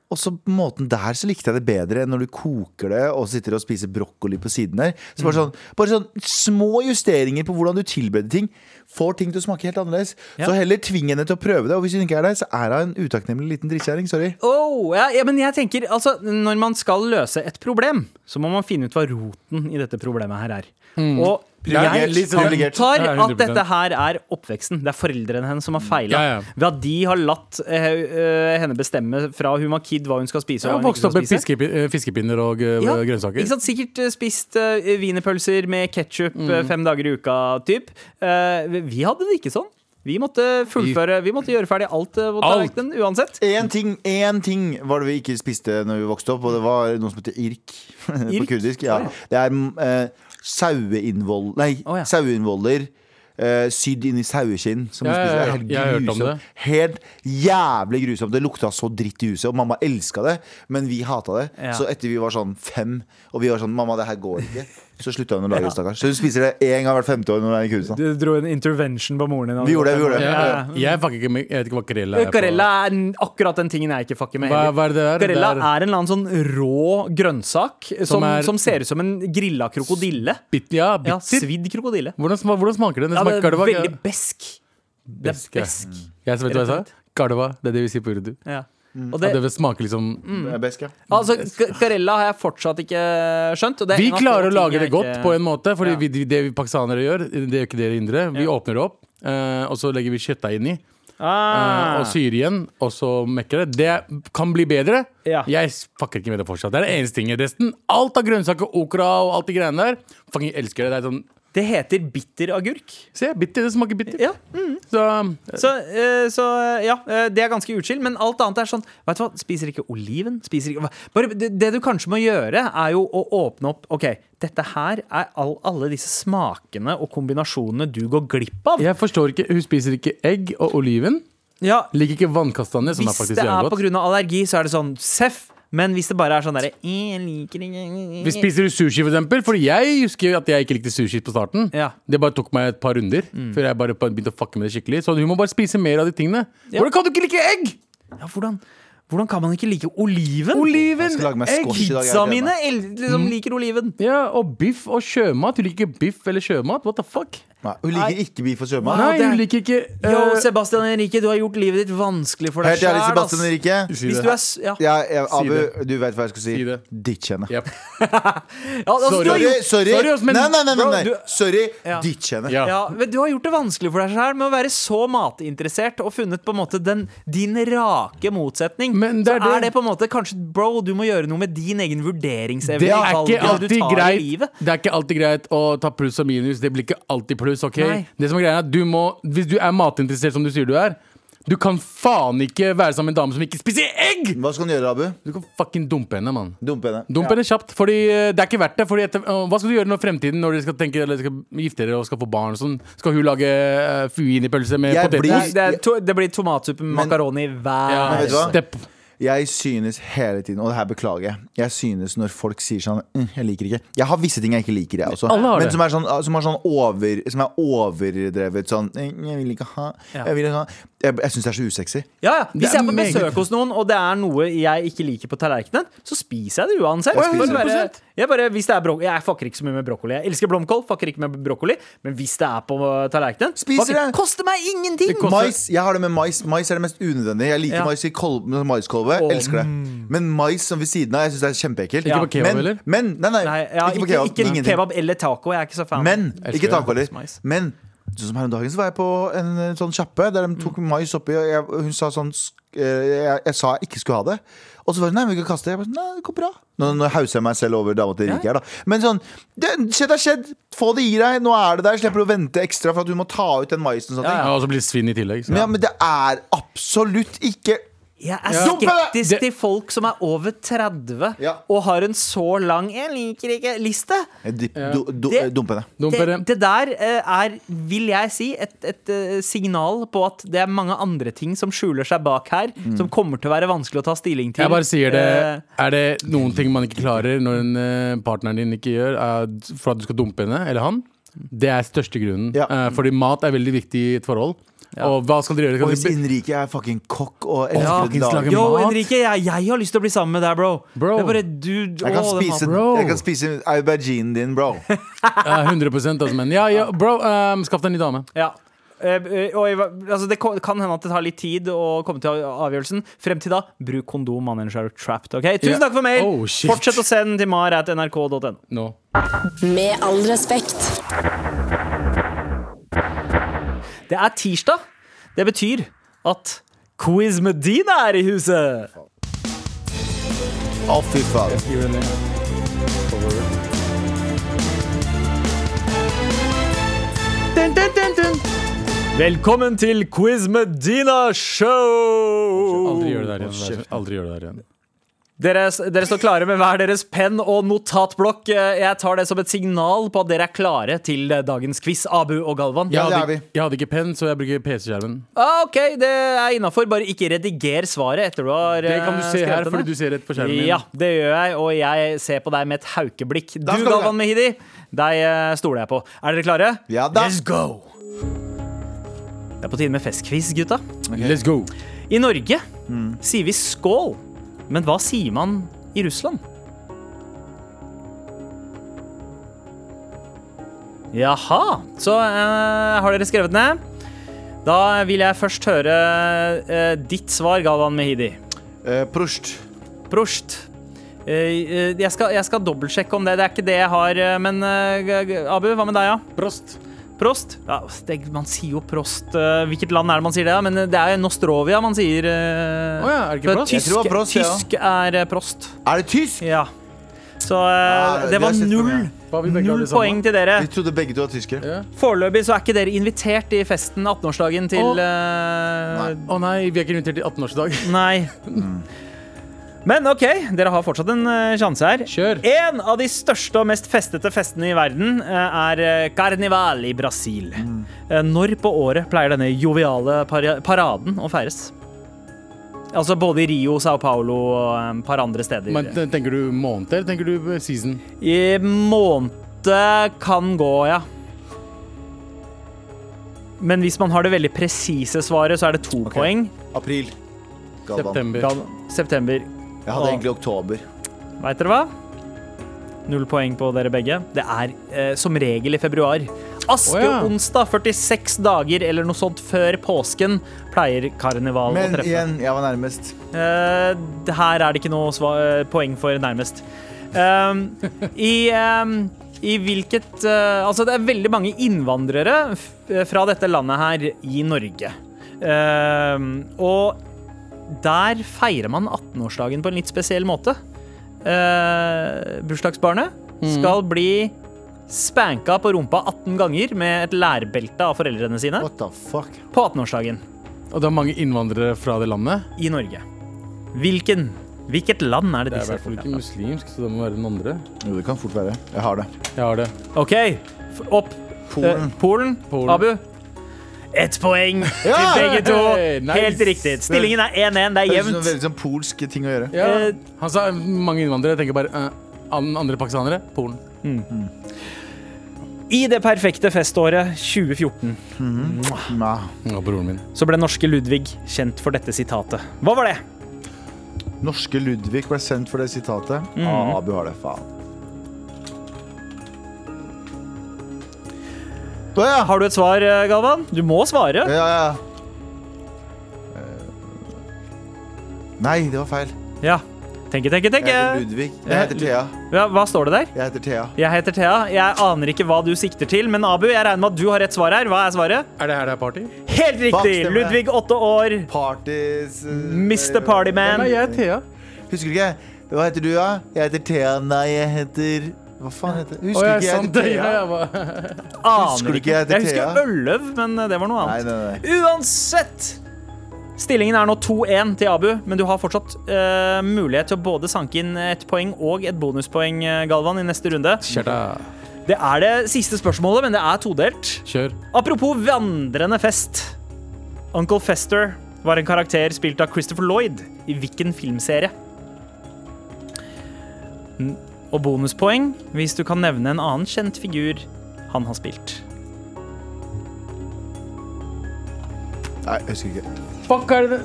[SPEAKER 3] Og så på måten der så likte jeg det bedre enn når du koker det og sitter og spiser brokkoli på siden der. Så
[SPEAKER 4] Mm.
[SPEAKER 3] bare, sånn, bare sånn små justeringer på hvordan du tilbereder ting, får ting til å smake helt annerledes.
[SPEAKER 4] Ja.
[SPEAKER 3] Så heller tving henne til å prøve det, og hvis hun ikke er der, så er hun en utakknemlig liten drittkjerring. Sorry.
[SPEAKER 4] Oh, ja, ja, men jeg tenker altså, Når man skal løse et problem, så må man finne ut hva roten i dette problemet her er.
[SPEAKER 2] Mm.
[SPEAKER 4] Og
[SPEAKER 3] Privilegert,
[SPEAKER 4] jeg
[SPEAKER 3] privilegert.
[SPEAKER 4] antar
[SPEAKER 2] Ja, 100%.
[SPEAKER 4] at dette her er oppveksten. Det er foreldrene hennes som har feila.
[SPEAKER 2] Ja, ja.
[SPEAKER 4] Ved at de har latt eh, eh, henne bestemme fra hun var kid hva hun skal spise.
[SPEAKER 2] Jeg
[SPEAKER 4] Og
[SPEAKER 2] har
[SPEAKER 4] hva hun
[SPEAKER 2] vokst
[SPEAKER 4] ikke
[SPEAKER 2] opp med
[SPEAKER 4] skal spise.
[SPEAKER 2] fiskepin- eh, fiskepinner og eh,
[SPEAKER 4] Ja,
[SPEAKER 2] grønnsaker.
[SPEAKER 4] Ikke sant? Sikkert eh, spist eh, wienerpølser med ketsjup
[SPEAKER 2] Mm.
[SPEAKER 4] fem dager i uka, typ. Eh, vi hadde det ikke sånn. Vi måtte fullføre, vi måtte gjøre ferdig alt eh, på
[SPEAKER 2] Alt.
[SPEAKER 4] tallerkenen uansett.
[SPEAKER 3] Én ting, én ting var det vi ikke spiste når vi vokste opp, og det var noe som heter irk.
[SPEAKER 4] Irk?
[SPEAKER 3] På kurdisk. Ja. Det er eh, saueinnvoll... Nei,
[SPEAKER 4] Å, ja.
[SPEAKER 3] saueinnvoller. eh, sydd inn i saueskinn. Som
[SPEAKER 2] Ja,
[SPEAKER 3] du
[SPEAKER 2] ja,
[SPEAKER 3] spiser. Det er
[SPEAKER 2] ja.
[SPEAKER 3] helt
[SPEAKER 2] Jeg har hørt om
[SPEAKER 3] grusomt.
[SPEAKER 2] det.
[SPEAKER 3] Helt jævlig grusomt. Det lukta så dritt i huset, og mamma elska det, men vi hata det.
[SPEAKER 4] Ja.
[SPEAKER 3] Så etter vi var sånn fem, og vi var sånn Mamma, det her går ikke. Så slutta hun å lage det, stakkars. Så hun spiser det én gang hvert femte år når hun er i Kurdistan.
[SPEAKER 4] Du dro en intervention på moren din.
[SPEAKER 3] Vi gjorde det, vi gjorde det.
[SPEAKER 2] Ja,
[SPEAKER 4] Ja.
[SPEAKER 2] Jeg, fucker ikke med, jeg vet ikke hva Karella er. på.
[SPEAKER 4] Karella er n- akkurat den tingen jeg ikke fucker med.
[SPEAKER 2] Hva-
[SPEAKER 4] heller.
[SPEAKER 2] hva er det der?
[SPEAKER 4] Karella
[SPEAKER 2] Det
[SPEAKER 4] er en eller annen sånn rå grønnsak som, som,
[SPEAKER 2] er-
[SPEAKER 4] ser ut som en grilla krokodille.
[SPEAKER 2] Bit, ja,
[SPEAKER 4] Ja,
[SPEAKER 2] bitter.
[SPEAKER 4] Svidd krokodille.
[SPEAKER 2] hvordan, sma- hvordan smaker den? Den
[SPEAKER 4] Ja, det
[SPEAKER 2] smaker
[SPEAKER 4] er
[SPEAKER 2] kardevalg,
[SPEAKER 4] veldig besk. Det er
[SPEAKER 2] Besk, ja.
[SPEAKER 4] besk.
[SPEAKER 2] ja. Jeg vet du hva jeg
[SPEAKER 4] rett og
[SPEAKER 2] sa? Kardevalg, det er det vi sier på urdu.
[SPEAKER 4] Ja.
[SPEAKER 3] Mm.
[SPEAKER 4] Og
[SPEAKER 2] Ja,
[SPEAKER 4] det,
[SPEAKER 2] det vil smake liksom
[SPEAKER 3] Det er best, ja.
[SPEAKER 4] altså, K- Karella har jeg fortsatt ikke skjønt. Og det er
[SPEAKER 2] Vi
[SPEAKER 4] en av få
[SPEAKER 2] klarer å
[SPEAKER 4] ting
[SPEAKER 2] lage
[SPEAKER 4] jeg
[SPEAKER 2] det godt
[SPEAKER 4] ikke-
[SPEAKER 2] på en måte, Fordi
[SPEAKER 4] Ja.
[SPEAKER 2] vi, det vi pakistanere gjør, det gjør ikke dere indre. Vi åpner det opp, eh, og så legger vi kjøttdeig inni. eh,
[SPEAKER 4] ah.
[SPEAKER 2] og syr igjen, og så mekker det. Det kan bli bedre.
[SPEAKER 4] Ja.
[SPEAKER 2] Jeg fucker ikke med det fortsatt. Det er det eneste tingen. Resten, alt av grønnsaker, okra og alt de greiene der, fucking elsker det. Det er sånn
[SPEAKER 4] Det heter bitteragurk.
[SPEAKER 2] Se, bitter, det smaker bitter.
[SPEAKER 4] Ja.
[SPEAKER 2] Så
[SPEAKER 4] Så, eh, så eh, ja, eh, det er ganske utskilt. Men alt annet er sånn Vet du hva, spiser ikke oliven. Spiser ikke hva- Bare, det, det du kanskje må gjøre, er jo å åpne opp OK, dette her er all, alle disse smakene og kombinasjonene du går glipp av.
[SPEAKER 2] jeg forstår ikke, hun spiser ikke egg og oliven.
[SPEAKER 4] Ja,
[SPEAKER 2] Liker ikke vannkastanje, som er
[SPEAKER 4] Hvis
[SPEAKER 2] faktisk
[SPEAKER 4] det er
[SPEAKER 2] jævlig godt.
[SPEAKER 4] pga. allergi, så er det sånn seff. Men hvis det bare er sånn derre Jeg liker ikke
[SPEAKER 2] Vi spiser du sushi, for eksempel? Fordi jeg husker jo at jeg ikke likte sushi på starten.
[SPEAKER 4] Ja.
[SPEAKER 2] Det bare tok meg et par runder før jeg bare begynte å fucke med det skikkelig. Så hun må bare spise mer av de tingene.
[SPEAKER 4] Ja.
[SPEAKER 2] Hvordan kan du ikke like egg?!
[SPEAKER 4] ja, hvordan, hvordan kan man ikke like oliven?
[SPEAKER 2] Oliven, Mm.
[SPEAKER 3] skal lage meg
[SPEAKER 2] egg!
[SPEAKER 3] squash i dag. jeg
[SPEAKER 4] Pizza
[SPEAKER 3] gleder
[SPEAKER 4] mine
[SPEAKER 3] meg.
[SPEAKER 4] el- liksom liker oliven.
[SPEAKER 2] Ja, og biff og sjømat. Hun liker ikke biff eller sjømat. What the fuck?
[SPEAKER 3] Nei, Hun liker ikke biff og sjømat.
[SPEAKER 2] Nei,
[SPEAKER 4] det er-
[SPEAKER 2] hun liker ikke eh,
[SPEAKER 4] Yo, Sebastian Henrique, du har gjort livet ditt vanskelig for deg
[SPEAKER 3] Helt ærlig,
[SPEAKER 4] selv, ass.
[SPEAKER 3] Sebastian Henrique.
[SPEAKER 2] Si
[SPEAKER 4] Hvis
[SPEAKER 2] det.
[SPEAKER 4] du er s- ja.
[SPEAKER 3] Ja, ja, Abu,
[SPEAKER 2] det.
[SPEAKER 3] du vet hva jeg skal si.
[SPEAKER 2] Si det.
[SPEAKER 3] Ditch henne.
[SPEAKER 2] Yep.
[SPEAKER 4] Ja, altså,
[SPEAKER 2] Sorry.
[SPEAKER 4] du har
[SPEAKER 3] Sorry,
[SPEAKER 4] gjort,
[SPEAKER 3] sorry.
[SPEAKER 2] Sorry, ass, men-
[SPEAKER 3] nei, nei, nei, nei,
[SPEAKER 4] Bro,
[SPEAKER 3] nei.
[SPEAKER 4] du-
[SPEAKER 3] Sorry,
[SPEAKER 4] Ja.
[SPEAKER 3] ditch henne.
[SPEAKER 2] Ja.
[SPEAKER 4] ja, men du har gjort det vanskelig for deg selv med å være så matinteressert og funnet på en måte den, din rake motsetning.
[SPEAKER 2] Men det er
[SPEAKER 4] så
[SPEAKER 2] det-
[SPEAKER 4] er det på en måte kanskje Bro, du må gjøre noe med din egen vurderingsevne.
[SPEAKER 2] Det
[SPEAKER 4] i
[SPEAKER 2] er ikke
[SPEAKER 4] valgene du
[SPEAKER 2] alltid
[SPEAKER 4] tar i livet.
[SPEAKER 2] greit Det er ikke alltid greit å ta pluss og minus. Det blir ikke alltid pluss. ok?
[SPEAKER 4] Nei.
[SPEAKER 2] Det som er greia er at du må, Hvis du er matinteressert, som du sier du er, du kan faen ikke være sammen med en dame som ikke spiser egg!
[SPEAKER 3] Hva skal hun gjøre, Abu?
[SPEAKER 2] Du kan fucking dumpe henne, mann.
[SPEAKER 3] Dumpe henne.
[SPEAKER 2] Dump henne kjapt. Fordi eh, det er ikke verdt det. Fordi etter, øh, hva skal du gjøre når fremtiden Når dere skal tenke Eller skal gifte dere og skal få barn? og Sånn. Skal hun lage uh, fuinipølse med
[SPEAKER 3] Jeg
[SPEAKER 4] Det,
[SPEAKER 2] poteter?
[SPEAKER 4] er, det, er to, det blir tomatsuppe med makaroni hver
[SPEAKER 2] Ja,
[SPEAKER 3] Men vet du hva?
[SPEAKER 2] step.
[SPEAKER 3] Jeg synes hele tiden, og det her beklager jeg Jeg synes når folk sier sånn mm, Jeg liker ikke Jeg har visse ting jeg ikke liker, jeg også.
[SPEAKER 2] Alle har
[SPEAKER 3] Men
[SPEAKER 2] det.
[SPEAKER 3] som er, sånn, som er, sånn over, som er overdrevet sånn «Mm, Jeg vil ikke ha
[SPEAKER 4] Ja.
[SPEAKER 3] Jeg, vil ikke ha. jeg, jeg syns det er så usexy.
[SPEAKER 4] Ja, ja.
[SPEAKER 2] Det er
[SPEAKER 4] Hvis jeg er på
[SPEAKER 2] meget-
[SPEAKER 4] besøk hos noen, og det er noe jeg ikke liker på tallerkenen, så spiser jeg det uansett.
[SPEAKER 3] Jeg spiser
[SPEAKER 4] Bare-
[SPEAKER 2] 100%.
[SPEAKER 4] jeg, bare, hvis det er brok jeg fucker ikke så mye med brokkoli. Jeg elsker blomkål, fucker ikke med brokkoli. Men hvis det er på øh, tallerkenen
[SPEAKER 3] Spiser
[SPEAKER 4] fucker-
[SPEAKER 3] det.
[SPEAKER 4] Koster meg ingenting!
[SPEAKER 2] Det koster-
[SPEAKER 3] Mais, jeg har det med mais. Mais er det mest unødvendige. Jeg liker
[SPEAKER 4] Ja.
[SPEAKER 3] mais i kol- maiskolbe.
[SPEAKER 4] Åh,
[SPEAKER 3] Elsker det. Men mais som ved siden av, jeg syns det er kjempeekkelt.
[SPEAKER 2] Ikke på kebab,
[SPEAKER 3] men,
[SPEAKER 2] eller?
[SPEAKER 3] Men, nei, nei,
[SPEAKER 4] Nei, ja,
[SPEAKER 3] ikke på kebab.
[SPEAKER 4] Ikke,
[SPEAKER 3] Ingenting.
[SPEAKER 4] kebab eller taco. Jeg er ikke så fan.
[SPEAKER 3] Men,
[SPEAKER 2] Elsker
[SPEAKER 3] ikke
[SPEAKER 2] det.
[SPEAKER 3] taco heller.
[SPEAKER 4] Mais.
[SPEAKER 3] Men sånn som her om dagen så var jeg på en eh, sånn kjappe der de tok mais oppi, og jeg, hun sa sånn sk- eh, jeg, jeg sa jeg ikke skulle ha det. Og så var hun nei, men vi kan kaste det. Jeg bare, sånn, nei, det går bra. Nå, nå hauser jeg meg selv over dama til Rikke her, da. Men sånn, det skjedd har skjedd. Få det i deg. Nå er det der. Slipper du å vente ekstra for at du må ta ut den maisen. og sånn. Sånne ting.
[SPEAKER 2] Ja, og så blir det svinn i tillegg. Så.
[SPEAKER 3] Men, ja, men det er absolutt ikke
[SPEAKER 4] jeg er
[SPEAKER 2] Ja.
[SPEAKER 4] skeptisk
[SPEAKER 2] Det-
[SPEAKER 4] til folk som er over 30
[SPEAKER 3] Ja.
[SPEAKER 4] og har en så lang 'jeg liker ikke'-liste.
[SPEAKER 3] Di- du- du-
[SPEAKER 4] Det-
[SPEAKER 3] Dumpe det.
[SPEAKER 2] Dump
[SPEAKER 4] Det,
[SPEAKER 2] henne.
[SPEAKER 4] det der eh, er, vil jeg si, et, et eh, signal på at det er mange andre ting som skjuler seg bak her, som kommer til å være vanskelig å ta stilling til.
[SPEAKER 2] Mm. Jeg bare sier det.
[SPEAKER 4] Eh,
[SPEAKER 2] Er det noen ting man ikke klarer når en, eh, partneren din ikke gjør, eh, for at du skal dumpe henne eller han? Det er største grunnen.
[SPEAKER 3] Ja.
[SPEAKER 2] Eh, fordi mat er veldig viktig i et forhold. Og hva skal dere gjøre?
[SPEAKER 3] Og
[SPEAKER 2] Skal
[SPEAKER 3] hvis
[SPEAKER 2] dere be-
[SPEAKER 3] Henrike er fucking kokk og
[SPEAKER 2] Ja.
[SPEAKER 3] elsker å lage
[SPEAKER 2] Lager
[SPEAKER 4] Yo,
[SPEAKER 2] mat.
[SPEAKER 4] Henrike, jeg, jeg har lyst til å bli sammen med deg, bro.
[SPEAKER 2] Bro.
[SPEAKER 4] Det er bare du
[SPEAKER 3] jeg kan,
[SPEAKER 4] å, den
[SPEAKER 3] spise,
[SPEAKER 4] maten.
[SPEAKER 2] Bro.
[SPEAKER 3] jeg kan spise auberginen din, bro.
[SPEAKER 2] Ja, 100 altså, men ja, ja, bro, eh, skaff deg en ny dame.
[SPEAKER 4] Ja. Eh, eh, og, jeg var- altså, det ko- kan hende at det tar litt tid å komme til av- avgjørelsen. Frem til da, bruk kondom, mannen er trapped. ok?
[SPEAKER 2] Ja.
[SPEAKER 4] Tusen takk for mail!
[SPEAKER 2] Oh, shit.
[SPEAKER 4] Fortsett å sende til mar.nrk.no.
[SPEAKER 2] Nå.
[SPEAKER 6] Med all respekt.
[SPEAKER 4] Det er tirsdag. Det betyr at Quiz Medina er i huset!
[SPEAKER 3] Å, fy faen.
[SPEAKER 4] Dun, dun, dun, dun. Velkommen til Quiz Medina
[SPEAKER 3] Oh.
[SPEAKER 4] show!
[SPEAKER 2] Aldri gjør det der igjen. Aldri gjør det der igjen.
[SPEAKER 4] Dere, dere står klare med hver deres penn og notatblokk. Eh, Jeg tar det som et signal på at dere er klare til eh, dagens quiz, Abu og Galvan.
[SPEAKER 2] Jeg
[SPEAKER 3] Ja, det er
[SPEAKER 2] hadde,
[SPEAKER 3] vi.
[SPEAKER 2] jeg hadde ikke penn, så jeg bruker PC-skjermen.
[SPEAKER 4] Ah, OK, det er innafor. Bare ikke rediger svaret etter du har
[SPEAKER 2] Det kan du
[SPEAKER 4] eh,
[SPEAKER 2] se
[SPEAKER 4] skrevet
[SPEAKER 2] her,
[SPEAKER 4] det
[SPEAKER 2] fordi
[SPEAKER 4] ned.
[SPEAKER 2] du ser rett på skjermen min.
[SPEAKER 4] Ja, det gjør jeg, og jeg ser på deg med et haukeblikk. Du,
[SPEAKER 3] skal vi
[SPEAKER 4] Galvan Mehidi, deg eh, stoler jeg på. Er dere klare?
[SPEAKER 3] Ja da.
[SPEAKER 4] Let's go! Det er på tide med festquiz, gutta.
[SPEAKER 2] Let's go.
[SPEAKER 4] I Norge sier vi skål, men hva sier man i Russland? Jaha, så eh, har dere skrevet ned. Da vil jeg først høre eh, ditt svar, Galvan Mehidi.
[SPEAKER 3] Eh, Prost.
[SPEAKER 4] Prost. Eh, eh, Jeg skal, jeg skal dobbeltsjekke om det. Det er ikke det jeg har. eh, Men eh, G- G- Abu, hva med deg, ja? Prost. Prost? Ja, det, man sier jo prost. eh, Hvilket land er det man sier det? da? Men eh, det er jo Nostrovia man sier. eh,
[SPEAKER 2] Å ja, er det ikke
[SPEAKER 4] for
[SPEAKER 2] prost?
[SPEAKER 3] Jeg tror
[SPEAKER 4] Tysk,
[SPEAKER 3] det var prost, ja.
[SPEAKER 4] tysk er eh, prost.
[SPEAKER 3] Er det tysk?
[SPEAKER 4] Ja. Så eh,
[SPEAKER 3] Ja,
[SPEAKER 4] det
[SPEAKER 3] det har
[SPEAKER 4] var
[SPEAKER 3] jeg sett for
[SPEAKER 4] null
[SPEAKER 3] meg.
[SPEAKER 2] Hva har vi begge
[SPEAKER 4] Null
[SPEAKER 2] alle sammen?
[SPEAKER 4] poeng til dere.
[SPEAKER 3] Vi trodde begge to var tyskere.
[SPEAKER 2] Ja.
[SPEAKER 4] Foreløpig så er ikke dere invitert i festen 18-årsdagen til
[SPEAKER 2] Å.
[SPEAKER 4] eh,
[SPEAKER 2] Å nei, vi er ikke invitert til 18-årsdag.
[SPEAKER 4] Nei. Men OK, dere har fortsatt en eh, sjanse her.
[SPEAKER 2] Kjør.
[SPEAKER 4] En av de største og mest festete festene i verden eh, er eh, Carnival i Brasil. Eh, Når på året pleier denne joviale para- paraden å feires? Altså både i Rio, Sao Paulo og eh, et par andre steder.
[SPEAKER 2] Men te- tenker du måned eller tenker du eh, season?
[SPEAKER 4] I måned kan gå, ja. Men hvis man har det veldig presise svaret, så er det to poeng.
[SPEAKER 3] April. Galvan.
[SPEAKER 2] September.
[SPEAKER 4] Gal- September
[SPEAKER 3] Jeg hadde egentlig oktober.
[SPEAKER 4] Veit dere hva? Null poeng på dere begge. Det er eh, som regel i februar. Askeonsdag, 46 dager eller noe sånt før påsken, pleier karneval å
[SPEAKER 3] Men
[SPEAKER 4] treffe.
[SPEAKER 3] igjen, jeg var nærmest.
[SPEAKER 4] Eh, det her er det ikke noe sva eh, poeng for, nærmest. Um, I um, i hvilket eh, Altså, det er veldig mange innvandrere f eh, fra dette landet her i Norge. Um, og der feirer man 18-årsdagen på en litt spesiell måte. Eh, bursdagsbarnet skal bli spanka på rumpa 18 ganger med et lærbelte av foreldrene sine
[SPEAKER 3] What the fuck?
[SPEAKER 4] på 18-årsdagen
[SPEAKER 2] Og det er mange innvandrere fra det landet.
[SPEAKER 4] i Norge. Hvilken? Hvilket land er
[SPEAKER 2] Det er
[SPEAKER 4] det
[SPEAKER 2] i
[SPEAKER 4] disse
[SPEAKER 2] hvert fall
[SPEAKER 4] folka
[SPEAKER 2] ikke
[SPEAKER 4] er fra?
[SPEAKER 2] muslimsk, så det må være den andre.
[SPEAKER 3] Jo, det kan fort være. Jeg har det.
[SPEAKER 2] Jeg har det.
[SPEAKER 4] OK, f- opp.
[SPEAKER 3] Polen.
[SPEAKER 4] Eh, Polen.
[SPEAKER 2] Polen.
[SPEAKER 4] Abu. Ett poeng til
[SPEAKER 3] Ja!
[SPEAKER 4] begge to.
[SPEAKER 2] Hey, nice.
[SPEAKER 4] Helt riktig. Stillingen er 1-1. Det er
[SPEAKER 3] Det er
[SPEAKER 4] jevnt.
[SPEAKER 3] sånn, veldig sånn polsk ting å gjøre.
[SPEAKER 2] Ja.
[SPEAKER 4] Eh,
[SPEAKER 2] Han sa mange innvandrere. Jeg tenker bare eh, an- andre pakistanere. Polen.
[SPEAKER 4] I det perfekte feståret 2014
[SPEAKER 3] Nei.
[SPEAKER 2] Og broren min.
[SPEAKER 4] så ble norske Ludvig kjent for dette sitatet. Hva var det?
[SPEAKER 3] Norske Ludvig ble sendt for det sitatet. Ah, Abu har det, faen. Å ja.
[SPEAKER 4] Har du et svar, eh, Galvan? Du må svare.
[SPEAKER 3] ja, ja. Eh, Nei, det var feil.
[SPEAKER 4] Ja. Tenke, tenke,
[SPEAKER 3] Jeg heter
[SPEAKER 4] tenke.
[SPEAKER 3] Ludvig. Jeg heter Thea.
[SPEAKER 4] Ja, hva står det der?
[SPEAKER 3] Jeg heter Thea.
[SPEAKER 4] Jeg heter Thea. Jeg aner ikke hva du sikter til, men Abu, jeg regner med at du har rett svar her. Hva er svaret?
[SPEAKER 2] Er det her det er party?
[SPEAKER 4] Helt
[SPEAKER 3] Fuck,
[SPEAKER 4] riktig!
[SPEAKER 3] stemmer det.
[SPEAKER 4] Ludvig, åtte år.
[SPEAKER 3] Parties eh,
[SPEAKER 4] Mr. Partyman.
[SPEAKER 2] Nei, jeg er Thea.
[SPEAKER 3] Husker du ikke? Hva heter du, da? Jeg heter Thea. Nei, jeg heter Hva faen heter
[SPEAKER 2] Å,
[SPEAKER 3] Husker
[SPEAKER 2] jeg
[SPEAKER 3] ikke
[SPEAKER 2] er
[SPEAKER 3] jeg
[SPEAKER 2] sant.
[SPEAKER 3] heter
[SPEAKER 2] det. Ja,
[SPEAKER 3] Thea?
[SPEAKER 2] jeg var-
[SPEAKER 4] Aner
[SPEAKER 3] du
[SPEAKER 4] ikke.
[SPEAKER 3] ikke jeg
[SPEAKER 4] Jeg,
[SPEAKER 3] heter
[SPEAKER 4] husker
[SPEAKER 3] Thea?
[SPEAKER 4] Øløv, men eh, det var noe
[SPEAKER 3] Nei,
[SPEAKER 4] annet.
[SPEAKER 3] nei, nei.
[SPEAKER 4] Uansett! Stillingen er nå 2-1 til Abu, men du har fortsatt eh, mulighet til å både sanke inn et poeng og et bonuspoeng, eh, Galvan, i neste runde.
[SPEAKER 2] Kjør, da.
[SPEAKER 4] Det er det siste spørsmålet, men det er todelt.
[SPEAKER 2] Kjør.
[SPEAKER 4] Apropos vandrende fest. Uncle Fester var en karakter spilt av Christopher Lloyd i hvilken filmserie? N- Og bonuspoeng hvis du kan nevne en annen kjent figur han har spilt.
[SPEAKER 3] Nei, jeg husker ikke.
[SPEAKER 2] Fuck, er det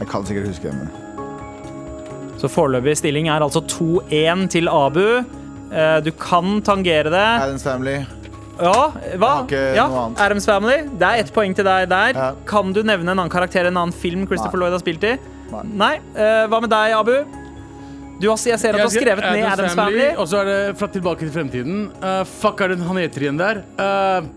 [SPEAKER 3] Jeg kan sikkert huske det, men
[SPEAKER 4] Så foreløpig stilling er altså 2-1 til Abu. Eh, Du kan tangere det.
[SPEAKER 3] Adams Family.
[SPEAKER 4] Ja, hva?
[SPEAKER 3] Jeg har ikke
[SPEAKER 4] Ja,
[SPEAKER 3] noe annet.
[SPEAKER 4] Adams Family. Det er ett poeng til deg der.
[SPEAKER 3] Ja.
[SPEAKER 4] Kan du nevne en annen karakter, en annen film Christopher
[SPEAKER 3] Nei.
[SPEAKER 4] Lloyd har spilt i?
[SPEAKER 3] Nei.
[SPEAKER 4] Nei. Eh, Hva med deg, Abu? Du har, jeg ser at du har skrevet ned Adams Family.
[SPEAKER 2] Og så er det Fra tilbake til fremtiden. Eh, fuck, er det han heter igjen der? Eh,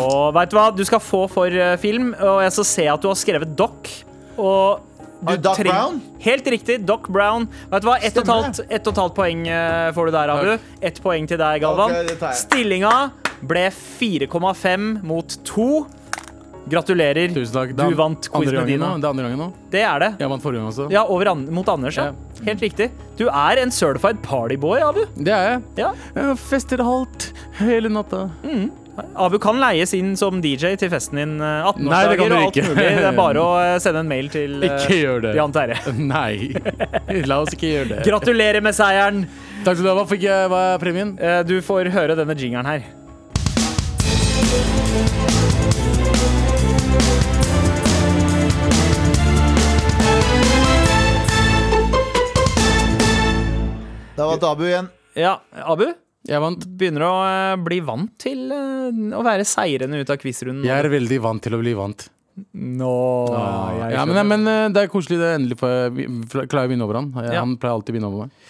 [SPEAKER 4] Og vet du hva? Du skal få for eh, film, og jeg så ser jeg at du har skrevet Doc. Og du
[SPEAKER 3] Ah, Doc
[SPEAKER 4] treng-
[SPEAKER 3] Brown?
[SPEAKER 4] Helt riktig. Doc Brown. Vet du hva? Ett og et
[SPEAKER 3] Stemmer.
[SPEAKER 4] halvt, ett og et halvt poeng eh, får du der, Abu. Ett poeng til deg, Galvan.
[SPEAKER 3] Ok, det tar jeg.
[SPEAKER 4] Stillinga ble 4,5 mot 2. Gratulerer.
[SPEAKER 2] tusen takk. Det er
[SPEAKER 4] Du vant
[SPEAKER 2] andre
[SPEAKER 4] quiz med
[SPEAKER 2] gangen
[SPEAKER 4] Dina.
[SPEAKER 2] nå. Det er andre gangen nå.
[SPEAKER 4] Det er det.
[SPEAKER 2] Jeg vant forrige gang også.
[SPEAKER 4] Ja, over an mot Anders, ja. Helt riktig. Du er en certified partyboy, Abu.
[SPEAKER 2] Det er jeg.
[SPEAKER 4] Ja.
[SPEAKER 2] jeg fester halvt hele natta.
[SPEAKER 4] Abu kan leies inn som DJ til festen din. eh,
[SPEAKER 2] Nei, det kan
[SPEAKER 4] 18-årsdager
[SPEAKER 2] du
[SPEAKER 4] og alt
[SPEAKER 2] ikke.
[SPEAKER 4] mulig. Det er bare å eh, sende en mail til eh,
[SPEAKER 2] Ikke gjør det.
[SPEAKER 4] Jan Terje.
[SPEAKER 2] Nei. La oss ikke gjøre det.
[SPEAKER 4] Gratulerer med seieren!
[SPEAKER 2] Takk skal du ha. Hva fikk jeg? Hva er premien?
[SPEAKER 4] Eh, Du får høre denne jingeren her.
[SPEAKER 3] Da vant Abu igjen.
[SPEAKER 4] Ja, Abu
[SPEAKER 2] Jeg vant.
[SPEAKER 4] begynner å eh, bli vant til eh, å være seirende ut av quizrunden.
[SPEAKER 2] Jeg er veldig vant til å bli vant.
[SPEAKER 4] Nå jeg
[SPEAKER 2] ja, men,
[SPEAKER 4] skjønner.
[SPEAKER 2] men eh, det er koselig. Det er endelig får jeg vi- fra- klarer jeg å vinne over han. Jeg,
[SPEAKER 4] Ja.
[SPEAKER 2] Han pleier alltid å vinne over meg.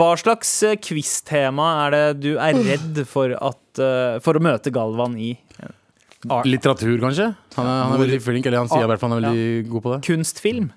[SPEAKER 4] Hva slags eh, quiz-tema er det du er redd for, at, eh, for å møte Galvan i?
[SPEAKER 2] Litteratur, kanskje? Han er, han er veldig flink, eller han sier i hvert fall han er veldig god på det.
[SPEAKER 4] Kunstfilm?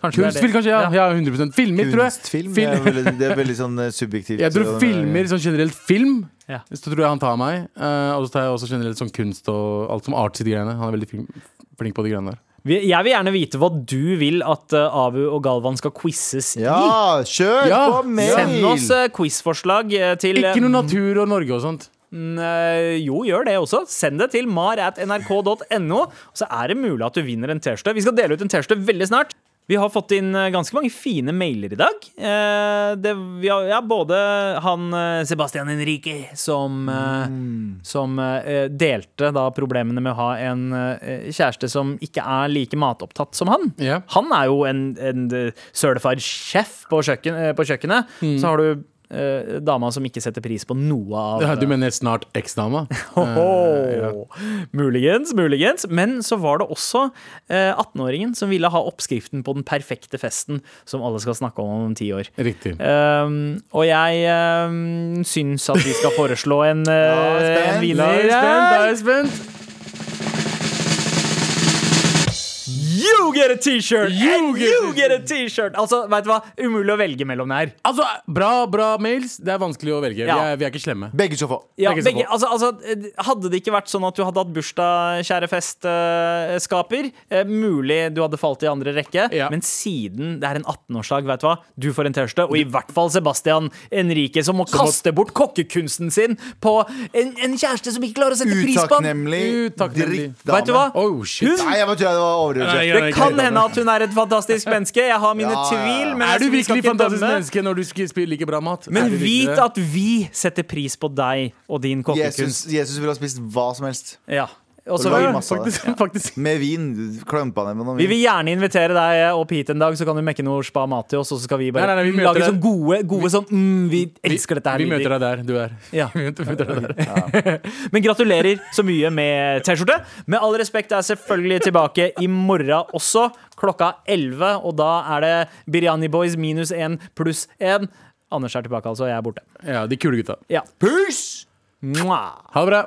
[SPEAKER 4] Kanskje det
[SPEAKER 2] Kunst
[SPEAKER 4] er
[SPEAKER 2] vil
[SPEAKER 4] det.
[SPEAKER 2] kanskje, ja, ja 100 Filmer, tror jeg.
[SPEAKER 3] Kunstfilm
[SPEAKER 2] Fil-
[SPEAKER 3] er veldig, det er veldig sånn eh, subjektivt.
[SPEAKER 2] Jeg tror
[SPEAKER 3] så-
[SPEAKER 2] filmer, sånn generelt film
[SPEAKER 4] Ja.
[SPEAKER 2] Så tror jeg han tar meg eh, Og så tar jeg også generelt sånn kunst og alt som art sitt greiene Han er veldig flink, flink på de greiene der
[SPEAKER 4] Vi- Jeg vil gjerne vite hva du vil at eh, Abu og Galvan skal quizes i.
[SPEAKER 3] Ja, kjør
[SPEAKER 2] Ja,
[SPEAKER 3] på mail!
[SPEAKER 4] Send oss eh, quizforslag eh, til eh,
[SPEAKER 2] Ikke noe natur og Norge og sånt
[SPEAKER 4] Mm, eh, Jo, gjør det også. Send det til mar.nrk.no. Så er det mulig at du vinner en T-skjorte. Vi skal dele ut en T-skjorte veldig snart. Vi har fått inn eh, ganske mange fine mailer i dag. Eh, Det, vi har, ja, både han eh, Sebastian Henrique som, eh, som eh, delte da problemene med å ha en eh, kjæreste som ikke er like matopptatt som han.
[SPEAKER 2] Ja.
[SPEAKER 4] Han er jo en, en eh, certified chef på, kjøkken, eh, på kjøkkenet. Så har du eh, dama som ikke setter pris på noe av
[SPEAKER 2] ja, Du mener snart eksdama
[SPEAKER 4] Åhå. Muligens, muligens. Men så var det også eh, 18-åringen som ville ha oppskriften på den perfekte festen som alle skal snakke om om ti år.
[SPEAKER 2] Riktig
[SPEAKER 4] Ehm, og jeg um, syns at vi skal foreslå en, eh,
[SPEAKER 3] spent.
[SPEAKER 4] en
[SPEAKER 2] Da er
[SPEAKER 4] vinner.
[SPEAKER 2] jeg spent, da er
[SPEAKER 4] her. You get a T-shirt! And you get a T-shirt! Altså, vet du hva? Umulig å velge mellom det her.
[SPEAKER 2] Altså, bra, bra mails Det er vanskelig å velge
[SPEAKER 4] Ja.
[SPEAKER 2] vi, er, vi er ikke slemme
[SPEAKER 3] Begge skal få.
[SPEAKER 4] Ja,
[SPEAKER 2] Begge som
[SPEAKER 4] begge, altså, altså, hadde det ikke vært sånn at du hadde hatt bursdag, kjære festskaper, eh, mulig du hadde falt i andre rekke,
[SPEAKER 2] Ja.
[SPEAKER 4] men siden det er en 18-årsdag, vet du hva, du får en T-skjorte, og i hvert fall Sebastian Enrique, som må kaste bort kokkekunsten sin på en, en kjæreste som ikke klarer å sette pris på den.
[SPEAKER 3] Utakknemlig
[SPEAKER 2] Utakknemlig.
[SPEAKER 3] drittdame.
[SPEAKER 4] Vet du hva?
[SPEAKER 2] Oh, shit.
[SPEAKER 4] Hun
[SPEAKER 3] Nei, jeg bare tror jeg det var
[SPEAKER 2] Nei,
[SPEAKER 3] overdrivelse.
[SPEAKER 2] ja,
[SPEAKER 4] det
[SPEAKER 2] ikke
[SPEAKER 4] kan
[SPEAKER 2] helt
[SPEAKER 4] hende at hun er et fantastisk menneske. Jeg har mine
[SPEAKER 3] Ja, ja, ja.
[SPEAKER 4] tvil. Men
[SPEAKER 2] Er du
[SPEAKER 4] jeg- vi skal
[SPEAKER 2] virkelig
[SPEAKER 4] ikke
[SPEAKER 2] fantastisk
[SPEAKER 4] dømme.
[SPEAKER 2] menneske når du sk- spiller like bra mat? Er
[SPEAKER 4] Men
[SPEAKER 2] du virkelig
[SPEAKER 4] vit
[SPEAKER 2] det?
[SPEAKER 4] at vi setter pris på deg og din
[SPEAKER 3] Jesus,
[SPEAKER 4] kokkekunst.
[SPEAKER 3] Jesus ville ha spist hva som helst.
[SPEAKER 4] Ja. Og
[SPEAKER 3] Og
[SPEAKER 4] så
[SPEAKER 3] lime. masse av det.
[SPEAKER 2] Faktisk, faktisk
[SPEAKER 3] Med vin. Klømpa ned med noe
[SPEAKER 4] Vi vil
[SPEAKER 3] vin.
[SPEAKER 4] gjerne invitere deg opp hit en dag, så kan du mekke noe spa mat til oss. Og så skal vi bare
[SPEAKER 2] Nei, nei, nei, vi møter
[SPEAKER 4] lage
[SPEAKER 2] deg.
[SPEAKER 4] sånn gode, gode sånn mm, Vi elsker dette her.
[SPEAKER 2] Vi
[SPEAKER 4] lyder.
[SPEAKER 2] møter deg der du er
[SPEAKER 4] Ja.
[SPEAKER 2] Vi møter møter deg der
[SPEAKER 4] Men gratulerer så mye med T-skjorte. Med all respekt er selvfølgelig tilbake i morgen også, klokka 11. Og da er det Biryani Boys minus 1 pluss 1. Anders er tilbake, altså. og Jeg er borte.
[SPEAKER 2] Ja, de kule gutta
[SPEAKER 4] Ja.
[SPEAKER 3] Pus!
[SPEAKER 4] Mwah.
[SPEAKER 2] Ha det bra